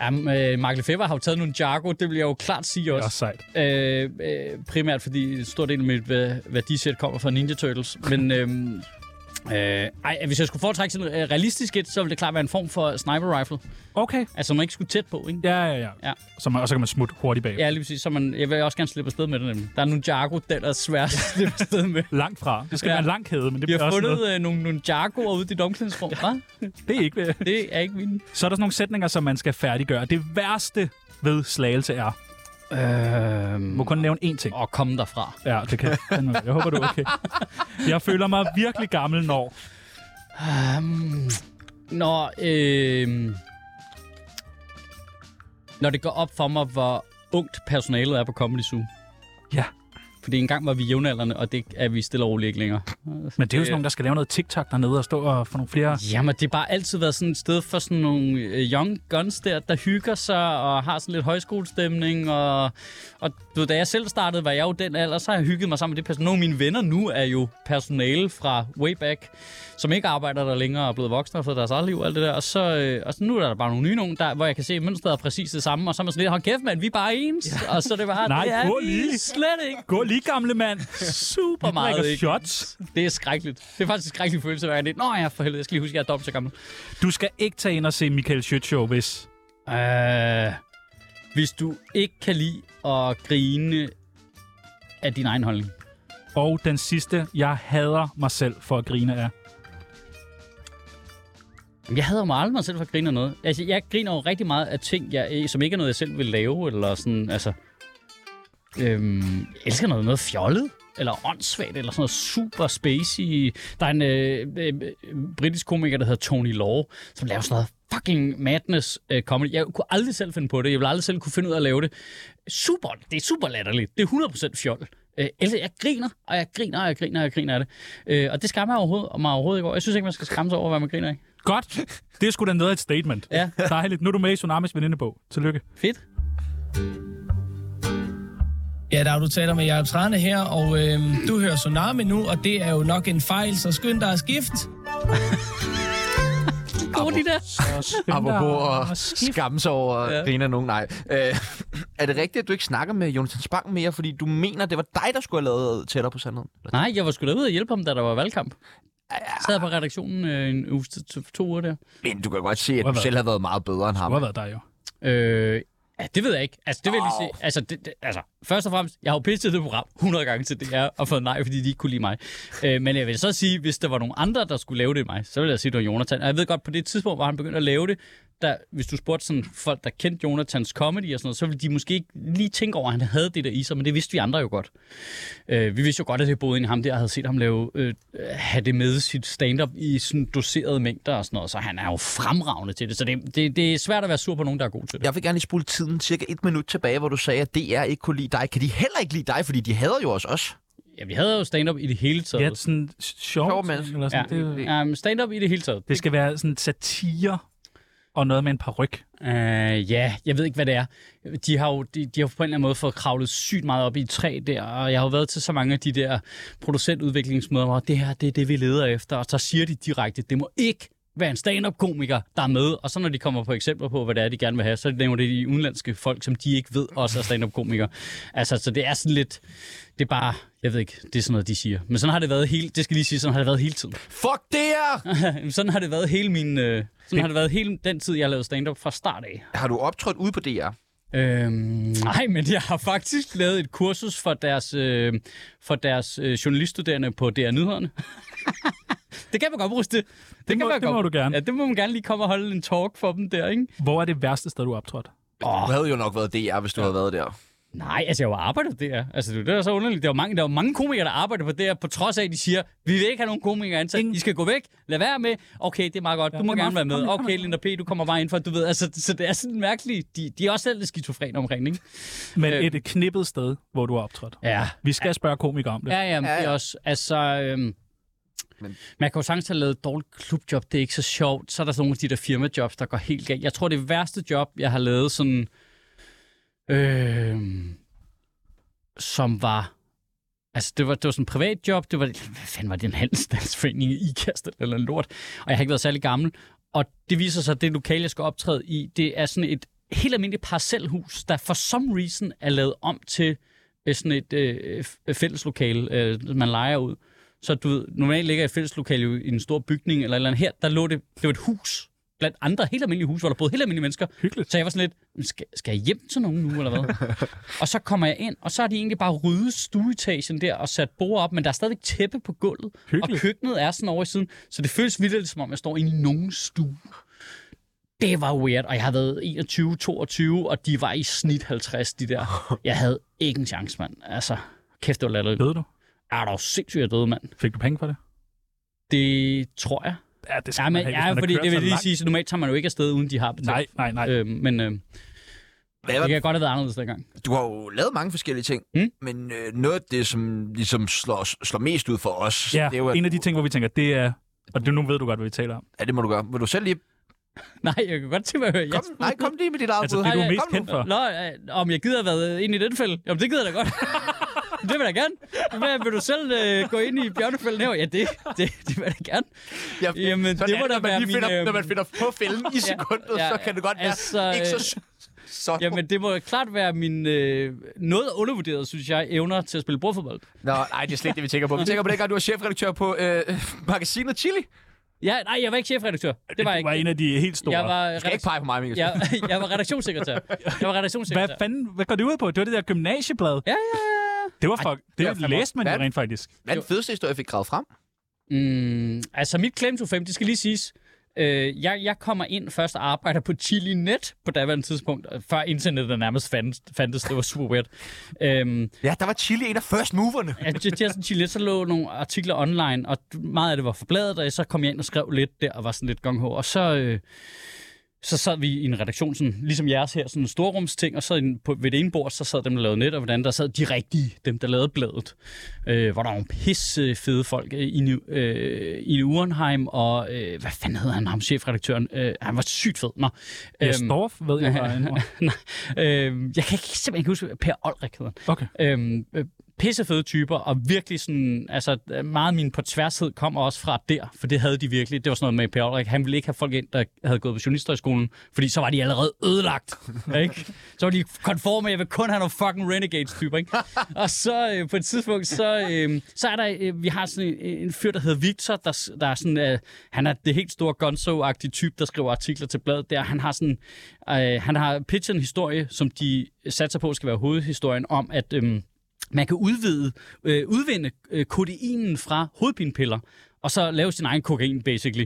Jamen, øh, Mark Lefebvre har jo taget nogle Jago, det vil jeg jo klart sige
Det er
også.
også sejt.
Øh, øh, primært fordi en stor del af mit øh, værdisæt kommer fra Ninja Turtles. Men øhm, øh, ej, hvis jeg skulle foretrække sådan øh, realistisk et, så ville det klart være en form for sniper rifle.
Okay.
Altså, man ikke skulle tæt på, ikke?
Ja, ja, ja.
Ja.
Så man, og så kan man smutte hurtigt bag.
Ja, lige præcis. Så man, jeg vil også gerne slippe afsted med det nemlig. Der er nogle Jago, der er svært at slippe afsted med.
Langt fra. Det skal ja.
Ja.
være en lang kæde, men det
Vi
bliver
har
også noget.
fundet øh, nogle, nogle Jagoer ude i dit omklædningsrum, hva'?
Det er ikke... øh,
Det er ikke min.
Så er der sådan nogle sætninger, som man skal færdiggøre. Det værste ved slagelse er...
Øhm...
Du må kun nævne én ting.
Og komme derfra.
Ja, det kan jeg. fandme. Jeg håber, du er okay. Jeg føler mig virkelig gammel, når...
Um, når, øh, når det går op for mig, hvor ungt personalet er på Comedy Zoo.
Ja.
Fordi engang var vi jævnaldrende, og det er vi stille og roligt ikke længere.
Men det er jo sådan nogen, der skal lave noget TikTok dernede og stå og få nogle flere...
Jamen, det har bare altid været sådan et sted for sådan nogle øh, young guns der, der hygger sig og har sådan lidt højskolestemning. Og, og du, ved, da jeg selv startede, var jeg jo den alder, så har jeg hygget mig sammen med det personale. Nogle af mine venner nu er jo personale fra way back, som ikke arbejder der længere og er blevet voksne og har fået deres eget liv og alt det der. Og så, øh, og så nu er der bare nogle nye nogen, der, hvor jeg kan se, at mønstret er præcis det samme. Og så er man sådan lidt, hold kæft mand, vi er bare ens. Ja. Og så er det bare,
Nej,
det
prøv
er vi
lige.
slet ikke.
Gå lige, gamle mand! Super
meget,
meget,
ikke?
shots.
Det er skrækkeligt. Det er faktisk en skrækkelig følelse hver gang. det er, Nå ja, for helvede, jeg skal lige huske, at jeg er dobbelt så gammel.
Du skal ikke tage ind og se Michael Schødt Show, hvis...
Øh, hvis du ikke kan lide at grine af din egen holdning.
Og den sidste, jeg hader mig selv for at grine af.
Jamen, Jeg hader mig aldrig mig selv for at grine af noget. Altså, jeg griner jo rigtig meget af ting, jeg, øh, som ikke er noget, jeg selv vil lave, eller sådan, altså... Øhm, jeg elsker noget, noget fjollet, eller åndssvagt, eller sådan noget super spacey. Der er en øh, øh, britisk komiker, der hedder Tony Law, som laver sådan noget fucking madness øh, comedy. Jeg kunne aldrig selv finde på det. Jeg ville aldrig selv kunne finde ud af at lave det. Super, det er super latterligt. Det er 100% fjol. Øh, altså, jeg griner, og jeg griner, og jeg griner, og jeg griner af det. Øh, og det skammer jeg overhovedet, mig overhovedet ikke over. Jeg synes ikke, man skal skamme sig over, hvad man griner af.
Godt. Det er sgu da noget af et statement.
Ja.
Dejligt. Nu er du med i Tsunamis venindebog. Tillykke.
Fedt.
Ja, der er du taler med Jacob Trane her, og øh, du hører Tsunami nu, og det er jo nok en fejl, så skynd dig at skifte.
Gode de der.
Apropos at skamme sig over at grine af nogen. Nej. Øh, er det rigtigt, at du ikke snakker med Jonathan Spang mere, fordi du mener, det var dig, der skulle have lavet tættere på sandheden?
Nej, jeg var sgu da ude og hjælpe ham, da der var valgkamp. Jeg sad på redaktionen øh, en uge til to, to uger der.
Men du kan godt se, at
Skulle
du
have
selv har været meget bedre end
Du har
ham.
været der jo.
Øh, ja, det ved jeg ikke. Altså, det vil jeg lige sige. Altså, det, det, altså, først og fremmest, jeg har jo pitchet det program 100 gange til DR og fået nej, fordi de ikke kunne lide mig. Øh, men jeg vil så sige, hvis der var nogen andre, der skulle lave det i mig, så ville jeg sige, det var Jonathan. Og jeg ved godt, på det tidspunkt, hvor han begyndte at lave det, der, hvis du spurgte sådan folk, der kendte Jonathans comedy og sådan noget, så ville de måske ikke lige tænke over, at han havde det der i sig, men det vidste vi andre jo godt. Øh, vi vidste jo godt, at det boede inde i ham der, og havde set ham lave, øh, have det med sit stand-up i sådan doserede mængder og sådan noget, så han er jo fremragende til det. Så det, det, det er svært at være sur på nogen, der er god til det.
Jeg vil gerne lige spole tiden cirka et minut tilbage, hvor du sagde, at DR ikke kunne lide dig. Kan de heller ikke lide dig, fordi de hader jo også os?
Ja, vi havde jo stand-up i det hele taget.
Ja, sådan sjov.
Sjov menneske.
Eller sådan.
ja.
Det,
Det... Um, stand-up i det hele taget.
det skal være sådan satire og noget med en paryk.
Uh, ja, jeg ved ikke, hvad det er. De har jo de, de har på en eller anden måde fået kravlet sygt meget op i træ der, og jeg har jo været til så mange af de der producentudviklingsmøder, hvor det her, det er det, vi leder efter, og så siger de direkte, det må ikke være en stand-up-komiker, der er med, og så når de kommer på eksempler på, hvad det er, de gerne vil have, så nævner det de udenlandske folk, som de ikke ved også er stand-up-komikere. Altså, så det er sådan lidt, det er bare, jeg ved ikke, det er sådan noget, de siger. Men sådan har det været hele, det skal lige sige, sådan har det været hele tiden.
Fuck DR!
Jamen, sådan har det været hele min... Øh, sådan har det været hele den tid, jeg lavede stand-up fra start af.
Har du optrådt ude på DR?
Øhm, nej, men jeg har faktisk lavet et kursus for deres, øh, for deres øh, journaliststuderende på DR Nyhederne. det kan man godt bruge det. Det, kan
må-
man
det
godt.
må du gerne.
Ja, det må man gerne lige komme og holde en talk for dem der, ikke?
Hvor er det værste sted, du er optrådt?
Du havde jo nok været DR, hvis du havde været der.
Nej, altså jeg har jo arbejdet der. Altså det er så underligt. Der er jo mange, der er jo mange komikere, der arbejder på DR, på trods af, at de siger, vi vil ikke have nogen komikere ansat. I skal gå væk. Lad være med. Okay, det er meget godt. Du må
det er
gerne være
meget
med.
fint. Kom,
Okay, Linda P., du kommer bare ind for, du ved. Altså, så det er sådan mærkeligt. De, de er også selv lidt skizofrene omkring, ikke?
Men et knippet sted, hvor du er optrådt.
Øh. Ja.
Vi skal spørge komikere om det.
Ja, ja, men det er også, altså, øhm, men. man kan jo sagtens have lavet et dårligt klubjob, det er ikke så sjovt. Så er der sådan nogle af de der firmajobs, der går helt galt. Jeg tror, det værste job, jeg har lavet sådan, øh, som var, altså det var, det var sådan en privat job, det var, hvad fanden var det, en handelsstandsforening i Ikast eller en lort, og jeg har ikke været særlig gammel. Og det viser sig, at det lokale, jeg skal optræde i, det er sådan et helt almindeligt parcelhus, der for some reason er lavet om til øh, sådan et øh, f- fælleslokale, øh, man leger ud. Så du ved, normalt ligger et fælleslokale jo i en stor bygning eller et eller andet. Her, der lå det, det var et hus blandt andre helt almindelige hus, hvor der boede helt almindelige mennesker.
Hyggeligt.
Så jeg var sådan lidt, "Men skal, skal jeg hjem til nogen nu, eller hvad? og så kommer jeg ind, og så har de egentlig bare ryddet stueetagen der og sat bord op, men der er stadigvæk tæppe på gulvet,
Hyggeligt.
og køkkenet er sådan over i siden, så det føles vildt, som om jeg står inde i nogen stue. Det var weird, og jeg har været 21-22, og de var i snit 50, de der. Jeg havde ikke en chance, mand. Altså, kæft, det var latterligt.
Ved du?
Er du sindssygt, jeg døde, mand?
Fik du penge for det?
Det tror jeg.
Ja, det skal
Ja, men, ja,
man have, hvis man har
fordi
kørt
det vil
så
lige
langt.
sige, så normalt tager man jo ikke afsted, uden de har betalt.
Nej, nej, nej.
Øh, men øh,
Hvad
det
var
kan godt have været anderledes dengang.
Du har jo lavet mange forskellige ting,
Hmm?
Mm.
men øh, noget af det, som ligesom slår, slår mest ud for os,
Ja,
det er jo, at,
en af de ting, hvor vi tænker, det er... Og det, nu ved du godt, hvad vi taler om.
ja, det må du gøre. Vil du selv lige...
Nej, jeg kan godt tænke mig at høre
Kom,
jeres bud.
nej, kom lige med dit eget
Altså,
bud.
det, du er
Kom
mest
nu.
kendt for.
Nå, øh, om jeg gider have været ind i den fælde? Jamen, det gider jeg da godt. det vil jeg da gerne. Hvad, vil du selv øh, gå ind i bjørnefælden her? Ja, det, det, det vil jeg da gerne.
Ja,
Jamen,
sådan
det
er
må da
når man
være
lige
min,
finder,
øhm,
Når man finder på fælden i sekundet,
ja,
så kan det godt være
altså,
ikke
øh,
så Så
Jamen, det må klart være min øh, noget undervurderet, synes jeg, evner til at spille bordfodbold.
Nå, nej, det er slet ikke det, vi tænker på. Vi tænker på det, du er chefredaktør på øh, magasinet Chili. Du
Ja, nej, jeg var ikke chefredaktør. Det var jeg
Du var
ikke.
en af de helt store.
Jeg var,
skal ikke
redakt-
pege på mig, Mikkel.
jeg, jeg var redaktionssekretær. Jeg var
Hvad
redaktionssekretær.
fanden, hvad går det ud på? Det var det der gymnasieblad.
Ja, ja, ja.
Det var fuck. Det,
er
det
fandme-
læste man jo
Hvad? Øhm.
rent faktisk.
Hvad er den fedeste historie, jeg fik gravet frem?
Mm, altså, mit claim to fame, det skal lige siges. Øh, jeg, jeg kommer ind først og arbejder på Chili Net på daværende tidspunkt, øh, før internettet nærmest fandtes. fandtes. Det var super weird. øhm,
Ja, der var Chili en af first moverne.
ja, det, det er sådan, Chili Net, så lå nogle artikler online, og meget af det var forbladet, og så kom jeg ind og skrev lidt der, og var sådan lidt gung Og så... Øh, så sad vi i en redaktion, sådan, ligesom jeres her, sådan en storrumsting, og så en, på, ved det ene bord, så sad dem, der lavede net, og hvordan der sad de rigtige, dem, der lavede bladet. Øh, hvor der var nogle pisse fede folk øh, i, Nu- øh, i Urenheim, og øh, hvad fanden hed han, ham chefredaktøren? Øh, han var sygt fed. Nå,
Jeg Storff, ved jeg, var en ord.
Nej, øhm, jeg kan ikke, simpelthen ikke huske, Per Olrik hedder han.
Okay.
Øhm, øh, pissefede typer, og virkelig sådan, altså øh, meget af min på tværshed kom også fra der, for det havde de virkelig. Det var sådan noget med Per Olrik. Han ville ikke have folk ind, der havde gået på journalisterhøjskolen, fordi så var de allerede ødelagt. ikke? Så var de konforme, jeg vil kun have nogle fucking renegades typer. Ikke? og så øh, på et tidspunkt, så, øh, så er der, øh, vi har sådan en, en fyr, der hedder Victor, der, s- der er sådan, øh, han er det helt store gonzo-agtige type, der skriver artikler til bladet der. Han har sådan, øh, han har pitchet en historie, som de satser på skal være hovedhistorien om, at øh, man kan udvide, øh, udvinde øh, kodeinen fra hovedpinepiller, og så lave sin egen kokain, basically.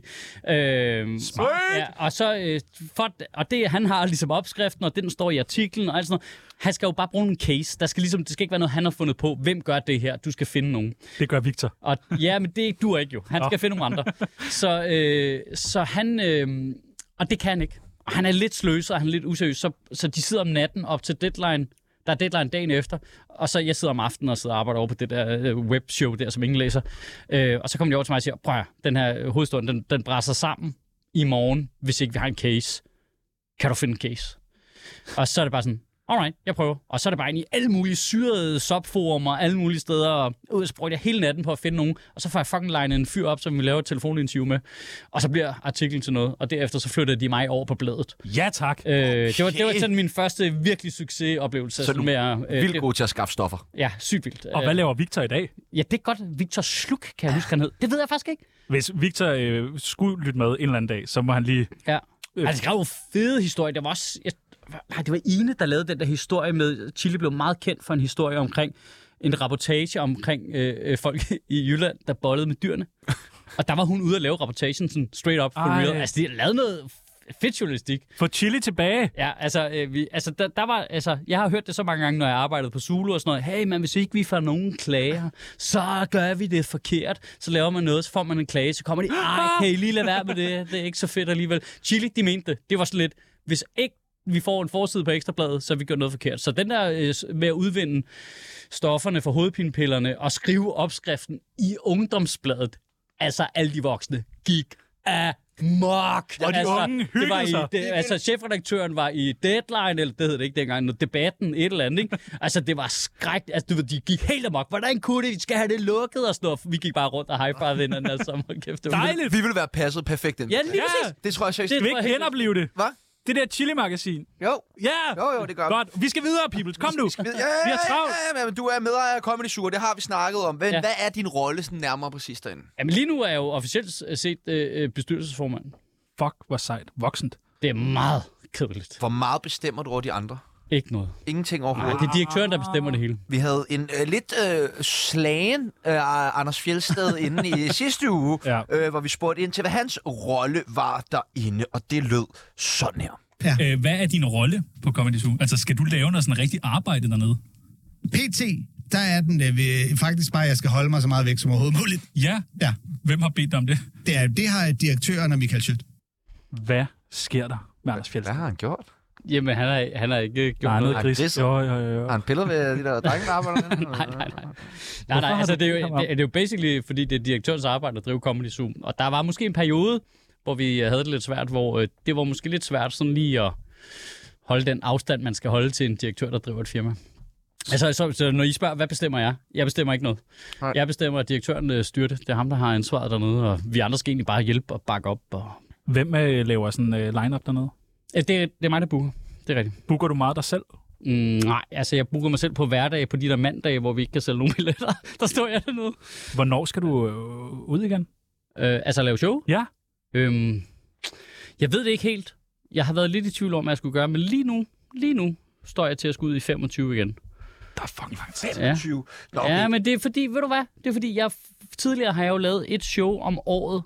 Øh, Smart! Ja, og, så, øh, for, og det, han har ligesom opskriften, og den står i artiklen, og alt sådan noget. Han skal jo bare bruge en case. Der skal ligesom, det skal ikke være noget, han har fundet på. Hvem gør det her? Du skal finde nogen.
Det gør Victor.
Og ja, men det duer ikke jo. Han skal finde nogle andre. Så, øh, så han... Øh, og det kan han ikke. Og han er lidt sløs, og han er lidt useriøs. Så, så de sidder om natten op til deadline. Der er deadline dagen efter. Og så jeg sidder om aftenen og sidder og arbejder over på det der øh, webshow der, som ingen læser. Øh, og så kommer de over til mig og siger, prøv at høre, den her øh, hovedstund, den, den brænder sig sammen i morgen, hvis ikke vi har en case. Kan du finde en case? Og så er det bare sådan, alright, jeg prøver. Og så er det bare ind i alle mulige syrede subforumer, alle mulige steder, og ud og sprøjter jeg hele natten på at finde nogen, og så får jeg fucking legnet en fyr op, som vi laver et telefoninterview med, og så bliver artiklen til noget, og derefter så flyttede de mig over på bladet.
Ja, tak.
Øh, det, var, det var sådan min første virkelig succesoplevelse.
Så
sådan
du
med, at, øh,
Vildt
det-
god til at skaffe stoffer.
Ja, sygt vildt.
Og hvad
Øh,
laver Victor i dag?
Ja, det er godt. Victor Sluk, kan
Ah.
jeg huske, han hed. Det ved jeg faktisk ikke.
Hvis Victor øh, skulle lytte med en eller anden dag, så må han lige...
Ja. Øh. Altså, det var jo fede historie. Der var også... Jeg, nej, det var Ine, der lavede den der historie med... Chile blev meget kendt for en historie omkring... En rapportage omkring øh, øh, folk i Jylland, der bollede med dyrene. Og der var hun ude at lave rapportagen sådan straight up for
Ej.
real. Altså, de har lavet noget fedt journalistik.
Få Chili tilbage!
Ja, altså, øh, vi, altså der, der var, altså, jeg har hørt det så mange gange, når jeg arbejdede på Zulu og sådan noget. Hey, man, hvis ikke vi får nogen klager, så gør vi det forkert. Så laver man noget, så får man en klage, så kommer de, ej, kan I lige lade være med det? Det er ikke så fedt alligevel. Chili, de mente det. Det var sådan lidt, hvis ikke vi får en forside på Ekstrabladet, så har vi gør noget forkert. Så den der øh, s- med at udvinde stofferne fra hovedpinepillerne og skrive opskriften i ungdomsbladet, altså alle de voksne, gik amok.
Og de
altså,
unge
det var
hyggede
i,
sig.
det, altså, chefredaktøren var i Deadline, eller det hed det ikke dengang, noget debatten, et eller andet, ikke? Altså, det var skræk. Altså, du ved, de gik helt amok. Hvordan kunne det? De skal have det lukket og sådan noget. Vi gik bare rundt og high five hinanden alle sammen. Hold Kæft, det var
Dejligt!
Vi ville være passet perfekt ind.
Ja, lige
Ja.
præcis.
Det tror jeg seriøst.
Det-
Skal vi ikke genopleve det?
Hvad?
Det der Chili-magasin.
Jo.
Ja!
Jo, jo, det gør vi.
Godt. Vi skal videre, Peoples. Kom nu.
Ja, ja,
Vi har travlt.
Ja, ja, men du er medejer af Comedy Sur, det har vi snakket om. Men
Ja.
ja. hvad er din rolle sådan nærmere præcis derinde?
Jamen, lige nu er jeg jo officielt set øh, bestyrelsesformand.
Fuck, hvor sejt. Voksent.
Det er meget kedeligt.
Hvor meget bestemmer du over de andre?
Ikke noget.
Ingenting overhovedet.
Det er direktøren, der bestemmer det hele.
Vi havde en øh, lidt øh, slagen øh, Anders Fjeldsted inde i sidste uge,
Ja.
ja. øh, hvor vi spurgte ind til, hvad hans rolle var derinde, og det lød sådan her.
Øh, hvad er din rolle på Comedy Zoo? Altså, skal du lave noget sådan rigtig arbejde dernede?
PT, der er den øh, ved- faktisk bare, at jeg skal holde mig så meget væk som overhovedet muligt.
Ja.
Ja.
Hvem har bedt dig om det?
Det, er, det har direktøren og Michael Schødt.
Hvad sker der med Anders Fjeldsted?
Hvad har han gjort?
Jamen, han har, han har ikke øh, gjort
Nej,
noget.
noget gris.
grisser.
Jo, jo, jo.
Har han pillet ved de der drenge, der arbejder dernede?
nej, nej, nej. Nej, nej,
har
altså
du
det er,
bedt ham
jo,
om-
det, det er jo basically, fordi det er direktørens arbejde at drive Comedy Zoom. Og der var måske en periode, hvor vi øh, havde det lidt svært, hvor øh, det var måske lidt svært sådan lige at holde den afstand, man skal holde til en direktør, der driver et firma. Altså, så, så når I spørger, hvad bestemmer jeg? Jeg bestemmer ikke noget.
Nej.
Jeg bestemmer, at direktøren øh, styrer det. Det er ham, der har ansvaret dernede, og vi andre skal egentlig bare hjælpe og bakke op. Og...
Hvem øh, laver sådan øh, line-up dernede?
Øh, Det, det er mig, der booker. det er rigtigt.
Booker du meget dig selv?
Mm, nej, altså jeg booker mig selv på hverdage, på de der mandage, hvor vi ikke kan sælge nogen billetter. der står jeg dernede.
Hvornår skal du øh, ud igen?
Øh, altså lave show?
Ja.
Øhm, jeg ved det ikke helt. Jeg har været lidt i tvivl om, hvad jeg skulle gøre, men lige nu, lige nu står jeg til at skulle ud i 25 igen.
Der er fucking lang tid.
25.
Nå, ja, men det er fordi, ved du hvad? Det er fordi, jeg tidligere har jeg jo lavet et show om året,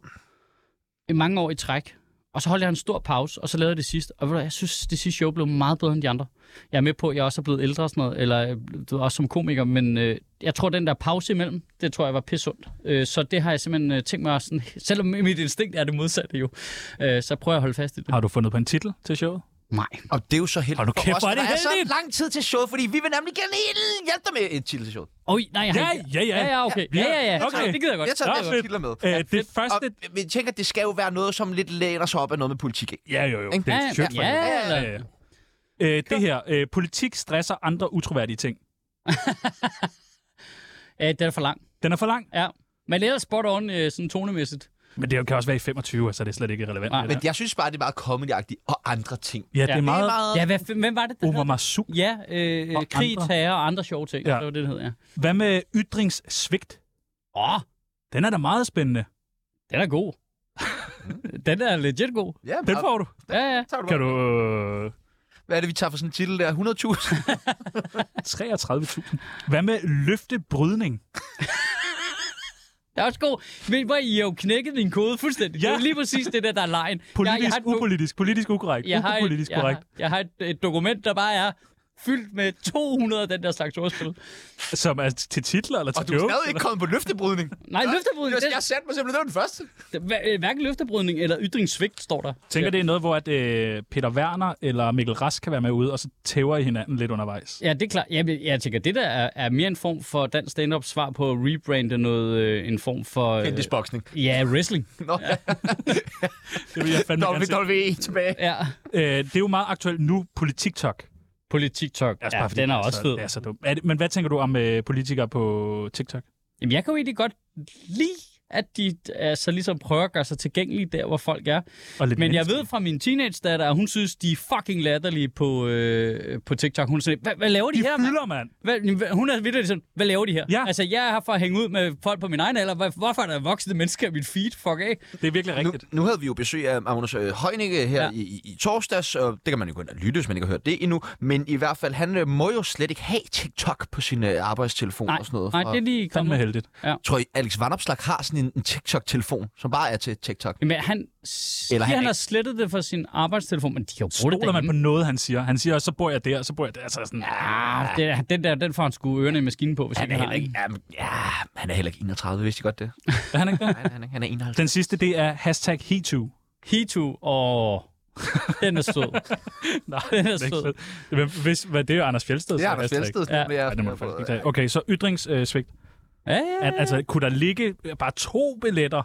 i mange år i træk, og så holdt jeg en stor pause, og så lavede jeg det sidste. Og ved du, hvad, jeg synes, det sidste show blev meget bedre end de andre. Jeg er med på, at jeg også er blevet ældre og sådan noget, eller øh, du ved, også som komiker, men øh, jeg tror, den der pause imellem, det tror jeg var pissundt. Øh, så det har jeg simpelthen øh, tænkt mig, at sådan, selvom mit instinkt er det modsatte jo, øh, så prøver jeg at holde fast i det.
Har du fundet på en titel til showet?
Nej.
Og det er jo så heldigt.
Hold nu kæft, hvor er det
der er så
heldigt!
lang tid til showet, fordi vi vil nemlig gerne helt hjælpe dig med et titel til showet.
Oj, nej, jeg har
Ja,
ikke-
ja, ja.
Ja, ja, okay. Ja, ja, ja.
Okay.
Det gider jeg godt.
Jeg tager
Nå,
deres
fedt.
titler med.
Øh, det første...
Og vi tænker, det skal jo være noget, som lidt læner sig op af noget med politik. ikke?
Ja, jo, jo.
Ikke?
Det er
Ja,
et shirt for
ja,
helvede.
ja,
ja, ja. Øh, det her. Øh, politik stresser andre utroværdige ting.
Øh, den er for lang.
Den er for lang,
Ja. Men ellers spot on øh, sådan tonemæssigt.
men det kan også være i 25, så det er slet ikke relevant.
Nej.
det
Men
der.
jeg synes bare, det er meget comedy og andre ting.
ja, det er
Ja.
meget...
Ja, hvad, f- hvem var det, der
Omar Masuk.
Ja, øh,
Og
krig,
andre.
terror og andre sjove ting.
Ja.
Ja. Det var det, det hed, ja.
Hvad med ytringssvigt?
Åh, oh,
Den er da meget spændende.
den er god.
Mm.
den er legit god.
Ja,
Den
og-
får du.
Ja, ja.
tager du
Kan
bare.
du... øh,
Hvad er det, vi tager for sådan en titel der? 100.000?
33.000. Hvad med løftebrydning?
Den er også god. Men hvor I har jo knækket min kode fuldstændig. Ja. Det
Ja.
er jo lige præcis det der, der er lejen.
Politisk,
jeg,
ja,
har et do-
upolitisk, politisk ukorrekt.
jeg har, et,
Upolitisk
jeg
korrekt.
har, jeg har et, et dokument, der bare er fyldt med 200 af den der slags ordspil.
Som er til titler eller til
Og du er
jokes,
stadig ikke kommet på løftebrydning.
Nej, løftebrydning.
Jeg satte mig simpelthen, det var den første.
Det, hver- øh, hverken løftebrydning eller ytringssvigt står der.
Jeg tænker, det er noget, hvor at, øh, Peter Werner eller Mikkel Rask kan være med ude, og så tæver I hinanden lidt undervejs.
Ja, det er klart. Jeg, jeg tænker, det der er, er mere en form for dansk stand-up svar på at rebrande noget, øh, en form for... Øh,
Kendisboksning.
ja, wrestling.
Nå, ja.
Det vil jeg fandme gerne se.
WWE tilbage.
Ja.
Øh, det er jo meget aktuelt nu, politiktok.
Politik-talk.
Altså,
ja,
bare fordi
den er
det
også
så-
fed.
Det er så dumt. Er det, men hvad tænker du om øh, politikere på TikTok?
Jamen, jeg kan jo egentlig godt lide, at de altså, ligesom prøver at gøre sig tilgængelige der, hvor folk er.
Og lidt
Men jeg
menneske.
ved fra min teenage-datter, at hun synes, de er fucking latterlige på, øh, på TikTok. Hun er sådan, lidt, hvad, hvad laver de,
De
her, mand?
fylder, mand.
Hvad, hvad- hun er vildt sådan, hvad laver de her?
Ja.
Altså, jeg er her for at hænge ud med folk på min egen alder. Hvor- Hvorfor er der voksne mennesker i mit feed? Fuck af.
Det er virkelig
Nu,
rigtigt.
nu havde vi jo besøg af Magnus øh, Heunicke her ja.
Ja.
i, i, i torsdags, og det kan man jo gå ind og lytte, hvis man ikke har hørt det endnu. Men i hvert fald, han øh, må jo slet ikke have TikTok på sin øh, arbejdstelefon
Nej,
og sådan noget.
nej,
Og
det er lige
Fandme
kommet.
heldigt.
Tror I, Alex Vanopslag har sådan en, en TikTok-telefon, som bare er til TikTok?
Men han, s-
Eller
Eller
han
han, han
ikke.
har slettet det fra sin arbejdstelefon, men de har jo brugt det
Stoler man på
derhjemme.
noget, han siger? Han siger også, så bor jeg der, så bor jeg der. Altså sådan,
Ah, det, er- den der, den får han sgu ørerne i maskinen på, hvis
Han
han
er
ikke
heller
har
ikke,
en.
jamen, ja, han er heller ikke 31, vidste I godt det?
er han ikke der?
Nej, han er, han er 51.
Den sidste, det er hashtag HeToo.
Hitu, og den er sød.
Nej,
Den er
det er ikke
sød.
fedt. Hvem- Hvis, hvad, det er jo Anders Fjeldsted.
Det
så
er Anders
hashtag.
Fjeldsted.
Ja,
det er-
Ja, det må jeg faktisk ikke tage. Okay, så ytringssvigt.
Ja, ja, ja.
At, altså, kunne der ligge øh, bare to billetter,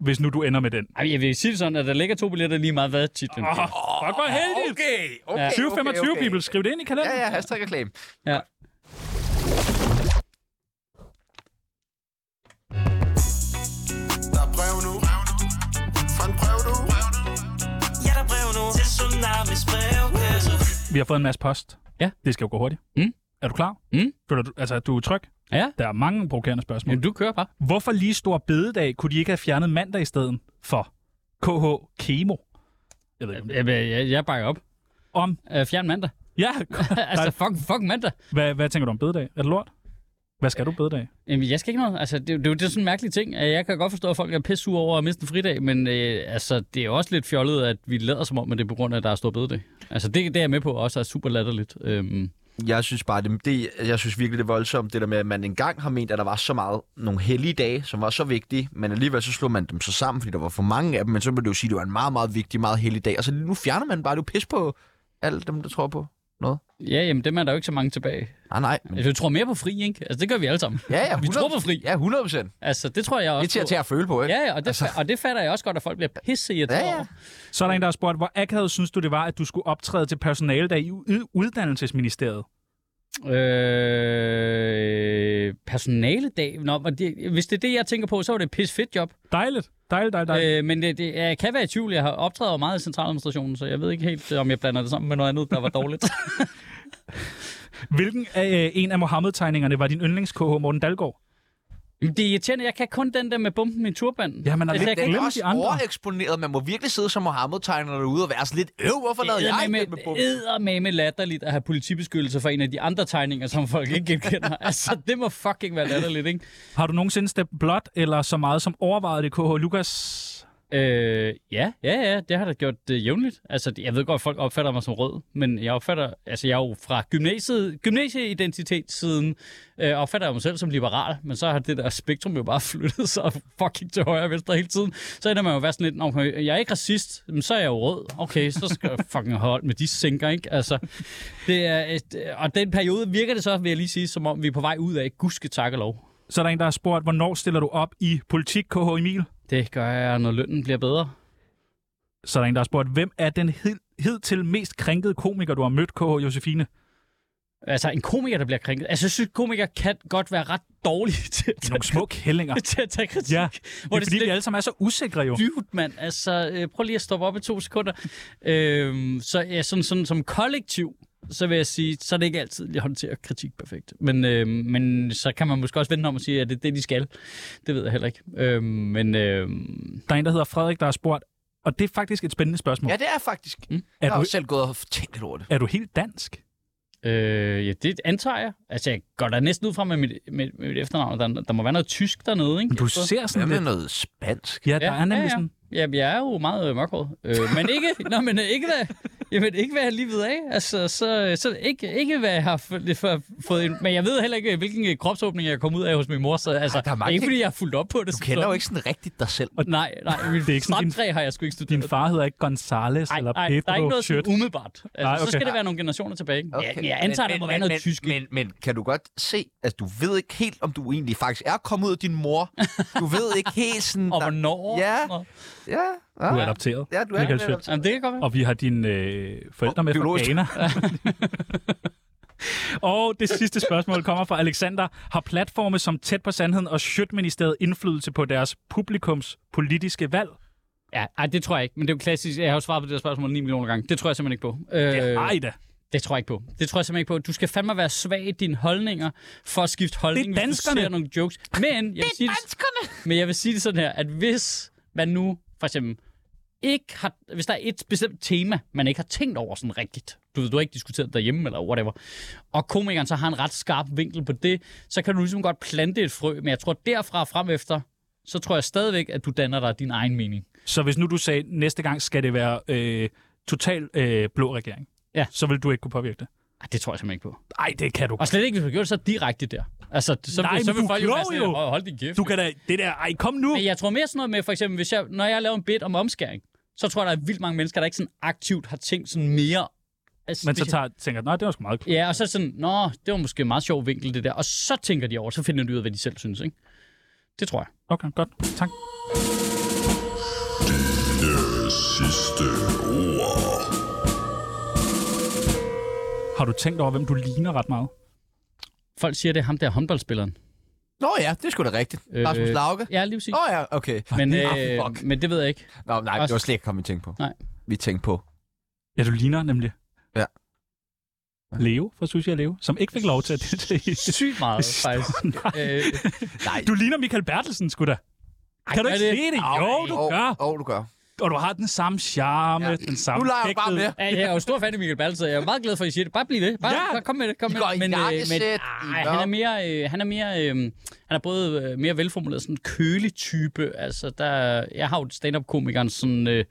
hvis nu du ender med den?
Ej, jeg vil sige det sådan, at der ligger to billetter lige meget, hvad titlen
Åh,
oh.
fuck, hvor heldigt!
Okay, okay,
2025,
okay, okay.
people. Skriv det ind i kalenderen.
Ja, ja, hashtag reklame.
Ja.
Der er brev nu Fra en brev nu
Ja, der er brev nu til Tsunamis brevkasse.
Vi har fået en masse post.
Ja.
Det skal jo gå hurtigt.
Mm.
Er du klar?
Mm.
Føler du, altså, du er tryg?
Ja.
Der er mange provokerende spørgsmål.
Men du kører bare.
Hvorfor lige stor bededag kunne de ikke have fjernet mandag i stedet for KH Kemo? Jeg ved ikke, om det
Jeg, jeg, jeg bakker op.
om.
Øh, fjern mandag.
Ja,
altså, fuck, fuck mandag.
hvad, hvad tænker du om bededag? Er det lort? Hvad skal du bededag?
Jamen, jeg skal ikke noget. Altså, det, det, er jo- det er sådan en mærkelig ting. Øh, Jeg kan godt forstå, at folk er pisse sure over at miste en fridag, men øh, altså, det er jo også lidt fjollet, at vi lader som om, at det er på grund af, at der er stor bededag. Altså, det, det er jeg med på også er super latterligt. Øhm,
Jeg synes bare, det, det, jeg synes virkelig, det er voldsomt, det der med, at man engang har ment, at der var så meget nogle hellige dage, som var så vigtige, men alligevel så slog man dem så sammen, fordi der var for mange af dem, men så må du jo sige, at det var en meget, meget vigtig, meget hellig dag, og så nu fjerner man bare, du pis på alle dem, der tror på noget.
ja, jamen, dem er der jo ikke så mange tilbage.
Nej, nej. Men,
Altså, vi tror mere på fri, ikke? Altså, det gør vi alle sammen.
Mm. ja, ja, 100,
Vi tror på fri.
Ja, 100 procent.
Altså, det tror jeg også
Det er til at, til at føle på, ikke?
Ja, ja, og det, altså... og det fatter jeg også godt, at folk bliver pisse i
Ja, ja.
Så er der en, der har spurgt, hvor akavet synes du, det var, at du skulle optræde til personaledag i u- uddannelsesministeriet?
Øh, personaledag. Nå, men det, hvis det er det, jeg tænker på, så var det et pisse fedt job.
Dejligt. Dejligt, dejligt,
dejligt. Øh, men det, det, jeg kan være i tvivl. Jeg har optrædet jo meget i centraladministrationen, så jeg ved ikke helt, øh, om jeg blander det sammen med noget andet, der var dårligt.
Hvilken af, øh, en af Mohammed-tegningerne var din yndlings-KH Morten Dalgaard?
Jamen, Det er irriterende. Jeg kan kun den der med bomben i turbanden.
Ja, altså, man har
Altså, jeg
lidt
kan
Den er
ikke-
også overeksponeret. Man må virkelig sidde som Mohammed-tegner derude og være sådan lidt, øv, hvorfor lavede jeg ikke den med bomben?
med, med latterligt at have politibeskyttelse for en af de andre tegninger, som folk ikke genkender. altså, det må fucking være latterligt, ikke?
Har du nogensinde stemt blot eller så meget som overvejet det, KH Lukas?
Øh, ja, ja, ja, det har jeg da gjort øh, jævnligt. Altså, jeg ved godt, at folk opfatter mig som rød, men jeg opfatter, altså, jeg er jo fra gymnasiet, gymnasieidentitetssiden, øh, opfatter jeg mig selv som liberal, men så har det der spektrum jo bare flyttet sig fucking til højre og venstre hele tiden. Så ender man jo være sådan lidt, okay, jeg er ikke racist, men så er jeg jo rød. Okay, så skal jeg fucking holde med de sænker, ikke? Altså, det er et, og den periode virker det så, vil jeg lige sige, som om vi er på vej ud af, gudske tak og lov.
Så er der en, der har spurgt, hvornår stiller du op i politik, KH Emil?
Det gør jeg, når lønnen bliver bedre.
Så er der en, der har spurgt, hvem er den hed, hidtil mest krænkede komiker, du har mødt, KH Josefine?
Altså, en komiker, der bliver krænket. Altså, jeg synes, komikere kan godt være ret dårlige til at
Nogle små kællinger.
til at tage kritik.
Ja, det er
Hvor det er
fordi,
sådan
vi alle sammen er så usikre jo.
Dude, mand. Altså, øh, prøv lige at stoppe op i to sekunder. øhm, så ja, sådan, sådan, som kollektiv, så vil jeg sige, så er det ikke altid, jeg håndterer kritik perfekt. Men, øh, men så kan man måske også vende om og sige, at det er det, de skal. Det ved jeg heller ikke. Øhm, men, øh,
Der er en, der hedder Frederik, der har spurgt, og det er faktisk et spændende spørgsmål.
Ja, det er faktisk.
Mm.
Er
Jeg har
du-
også selv gået og tænkt lidt over det.
Er du helt dansk?
Øh, ja, det antager jeg. Altså, jeg går da næsten ud fra med mit, med, med mit efternavn. Der, der må være noget tysk dernede, ikke?
Du ser sådan lidt-
noget spansk.
Ja, der er nemlig sådan...
Jamen, jeg er jo meget øh, mørkhåret. Øh, men ikke, nå, men øh, ikke hvad, jamen, ikke hvad jeg lige ved af. Altså, så, så ikke, ikke hvad jeg har f- lidt for, fået... ind. men jeg ved heller ikke, hvilken øh, kropsåbning jeg er kommet ud af hos min mor. Så altså,
der er
det er
mange
ikke,
ting-
fordi jeg har fulgt op på det.
Du kender jo ikke sådan rigtigt dig selv.
Nej, nej, min
Det er ikke sådan, din-
strandtræ har jeg sgu ikke studeret.
Din far hedder ikke Gonzales
Nej,
eller
nej,
Pedro.
der er ikke noget sådan
shit.
umiddelbart. Altså,
Nej,
nej, okay. Så
okay.
skal det være nogle generationer tilbage. ikke? Ja,
Okay.
men jeg antager,
Men-
der må
men-
være
men-
noget tysk.
Men, men kan du godt se, at du ved ikke helt, om du egentlig faktisk er kommet ud af din mor? Du ved ikke helt sådan...
Og hvornår?
Ja,
og-
ja. ja.
Du er adopteret.
Ja, du er
Michael
blevet
Schødt.
adopteret.
Jamen, det kan godt være.
Og vi har dine øh, forældre med fra
biologisk.
Ghana. og det sidste spørgsmål kommer fra Alexander. Har platforme som Tæt på Sandheden og Sjøtministeriet indflydelse på deres publikums politiske valg?
Ja, ej, det tror jeg ikke, men det er jo klassisk. Jeg har jo svaret på det der spørgsmål 9 millioner gange. Det tror jeg simpelthen ikke på. Øh,
Ej da.
Det tror jeg ikke på. Det tror jeg simpelthen ikke på. Du skal fandme være svag i dine holdninger for at skifte holdning,
Det er
hvis
danskerne.
du ser nogle jokes. Men jeg, vil sige det, men jeg vil sige det sådan her, at hvis man nu for eksempel ikke har, hvis der er et bestemt tema, man ikke har tænkt over sådan rigtigt, du ved, du har ikke diskuteret det derhjemme eller whatever, og komikeren så har en ret skarp vinkel på det, så kan du ligesom godt plante et frø, men jeg tror derfra og frem efter, så tror jeg stadigvæk, at du danner dig din egen mening.
Så hvis nu du sagde, næste gang skal det være øh, total øh, blå regering,
Ja.
så vil du ikke kunne påvirke det?
Ej, det tror jeg simpelthen ikke på.
Nej, det kan du.
Og slet ikke, hvis man gjorde det så direkte der. Altså, så,
Nej,
Nej, så
men
vil
du
folk jo
er
være
klog
sådan, lidt,
jo.
"Hold- hold din kæft.
Du kan da... Det der... Ej, kom nu!
Men jeg tror mere sådan noget med, for eksempel, hvis jeg, når jeg laver en bit om omskæring, så tror jeg, der er vildt mange mennesker, der ikke sådan aktivt har tænkt sådan mere... Altså,
Men så
hvis
tager, tænker, nej, det var sgu meget
jeg- Ja, og så er det sådan, nå, det var måske en meget sjov vinkel, det der. Og så tænker de over, så finder de ud af, hvad de selv synes, ikke? Det tror jeg.
Okay, godt. Tak.
sidste ord.
Har du tænkt over, hvem du ligner ret meget?
Folk siger, det er ham der håndboldspilleren.
Nå ja, det er sgu da rigtigt. Rasmus Lauke?
Ja, lige præcis.
Åh ja, okay.
Øh, Men,
Ah,
øh,
fuck.
men det ved jeg ikke.
Nå, nej, det
Også-
var slet ikke kommet tænke på.
Nej.
Vi tænkte på.
Ja, du ligner nemlig.
Ja.
Leo fra Sushi og Leo, som ikke fik lov til at deltage.
Sygt meget, faktisk. øh,
Nej.
Du ligner Michael Bertelsen, sgu da. Kan du
gør
ikke
det?
se det? Jo, du gør.
Åh, oh, du gør.
Og du har den samme charme,
Ja.
den samme
Nu leger jeg bare
kækhed.
med.
ja, jeg er jo stor fan af Michael Balser. Jeg er meget glad for, at I siger det. Bare bliv ved. Bare,
Ja.
ja. bare kom med det. Kom
I
med
går i
det. øh,
jakkesæt, I
ej,
gør-
han er mere, øh, han er mere, øh, han er både øh, mere velformuleret, sådan en kølig type. Altså, der, jeg har jo stand-up-komikeren sådan, øh,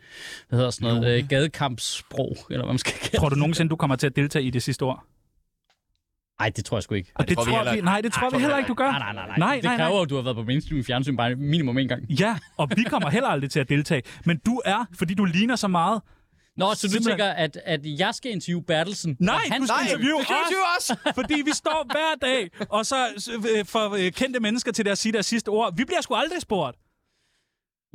hvad hedder sådan noget, øh, gadekampssprog, eller hvad man skal kalde
Tror du nogensinde, du kommer til at deltage i det sidste år?
Nej, det Ah, tror jeg sgu ikke.
Og det,
tror vi
tror
heller
vi,
ikke.
nej, det tror vi heller ikke, du gør.
Nej, nej, nej. nej.
nej,
det
nej,
kræver,
nej.
at du har været på mainstream fjernsyn bare minimum en gang.
Ja, og vi kommer heller aldrig til at deltage. Men du er, fordi du ligner så meget.
Nå, så du
Simpelthen.
tænker, at, at jeg skal interviewe Bertelsen?
Nej,
og
du skal
Nej,
interviewe
du skal
os.
interviewe os!
Fordi vi står hver dag, og så øh, får øh, kendte mennesker til deres sige deres sidste ord. Vi bliver sgu aldrig spurgt.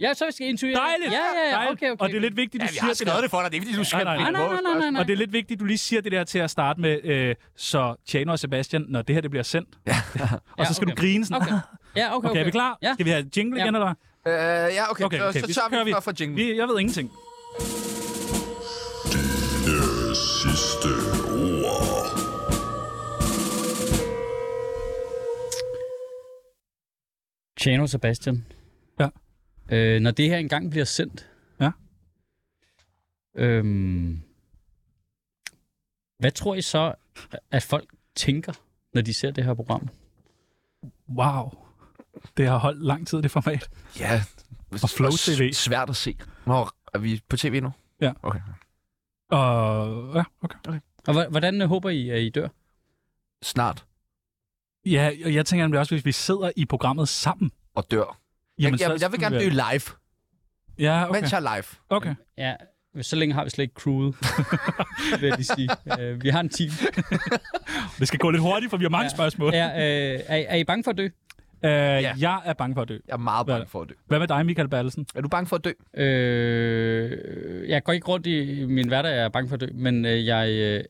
Ja, så skal jeg interviewe.
Dejligt.
Ja, ja, ja.
Dejligt.
Okay, okay.
Og det er lidt vigtigt, du
Ja, vi
siger
har
det der.
skrevet det for dig. Det er ikke, fordi du skal
nej,
Nej, nej, nej, nej, nej, nej.
Og det er lidt vigtigt, du lige siger det der til at starte med, øh, så Tjano og Sebastian, når det her det bliver sendt. Ja. og så skal
Ja,
du grine sådan.
Okay. Ja, okay,
Okay, er
okay.
vi klar?
Ja.
Skal vi have jingle igen, eller?
Øh, ja, okay. Så- så tager vi
kører
den fra- fra jingle.
Vi, jeg ved ingenting.
Det sidste ord.
Tjano Sebastian.
Ja.
Øh, når det her engang bliver sendt.
Ja.
Øhm, hvad tror I så, at folk tænker, når de ser det her program?
Wow. Det har holdt lang tid, det format.
Ja.
Og Flow TV.
Svært at se. Hvor er vi på tv nu?
Ja.
Okay.
Og, ja, okay.
Og hv- hvordan øh, håber I, at I dør?
Snart.
Ja, og jeg tænker nemlig også, hvis vi sidder i programmet sammen.
Og dør. Jamen, jeg, jeg, jeg vil gerne dø live.
Ja, okay.
Mens jeg er live.
Okay.
Ja, så længe har vi slet ikke crewet, vil jeg lige sige. Øh, vi har en team.
Det skal gå lidt hurtigt, for vi har mange ja. spørgsmål.
Ja, øh, er, er I bange for at dø?
Øh, Jeg er bange for at dø.
Jeg er meget
bange
for at dø.
Hvad med dig, Michael Bertelsen?
Er du bange for at dø?
Øh, jeg går ikke rundt i min hverdag, jeg er bange for at dø, men øh, jeg, øh,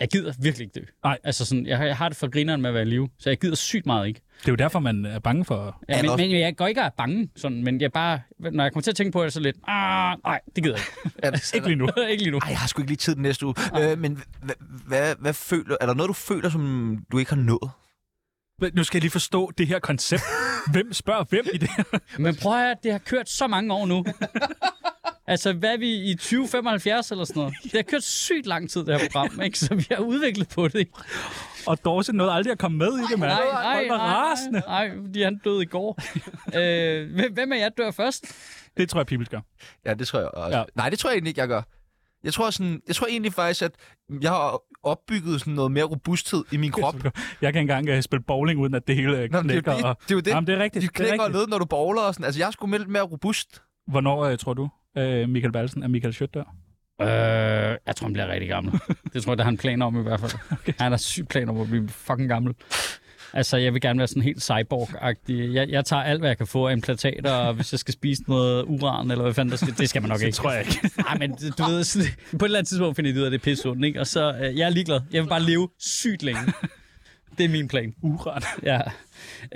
jeg gider virkelig ikke dø.
Nej.
Altså sådan, jeg, har- jeg har det for grineren med at være i live, så jeg gider sygt meget ikke.
Det er jo derfor, man er bange for...
Ja, men, men jeg går ikke og er bange, sådan, men jeg bare, når jeg kommer til at tænke på det, så lidt, ah, nej, det gider jeg ikke.
Er,
ikke lige nu. ikke lige nu.
Ej, jeg har sgu ikke lige tid den næste uge. Øh, men hvad, hvad, hvad føler... Er der noget, du føler, som du ikke har nået?
Men Nu skal jeg lige forstå det her koncept. Hvem spørger hvem i det her?
Men prøv at høre, det har kørt så mange år nu. altså, hvad er vi i 2075 eller sådan noget? Det har kørt sygt lang tid, det her program, ikke? så vi har udviklet på det. Ikke?
Og Dorse nåede aldrig at komme med i det, mand.
Nej, nej,
Folk var rasende.
nej, nej, nej, fordi han døde i går. øh, hvem- hvem er jeg dør først?
Det tror jeg, Pibels gør.
Ja, det tror jeg også.
Ja.
Ja. Nej, det tror jeg egentlig ikke, jeg gør. Jeg tror, sådan, jeg tror egentlig faktisk, at jeg har opbygget sådan noget mere robusthed i min krop.
Jeg kan ikke engang uh, spille bowling, uden at det hele øh,
Nå, men det, er
knækker.
jo det,
og...
det er jo det.
Jamen, det er rigtigt.
De
det er
knækker
rigtigt.
ned, når du bowler og sådan. Altså, jeg er sgu lidt mere robust.
Hvornår uh, tror du, uh, Michael Bertelsen er Michael Schødt der?
Øh, jeg tror, han bliver rigtig gammel. Det tror jeg, der har han planer om i hvert fald. okay. Han har syg planer om at blive fucking gammel. Altså, jeg vil gerne være sådan helt cyborg-agtig. Jeg, jeg tager alt, hvad jeg kan få af implantater, og hvis jeg skal spise noget uran, eller hvad fanden der skal, det skal man nok
Det
ikke.
tror jeg ikke.
Nej, men du ved, sådan, på et eller andet tidspunkt finder de ud af, at det er pissesundt, ikke? Og så, øh, jeg er ligeglad. Jeg vil bare leve sygt længe. Det er min plan.
Uran.
Ja.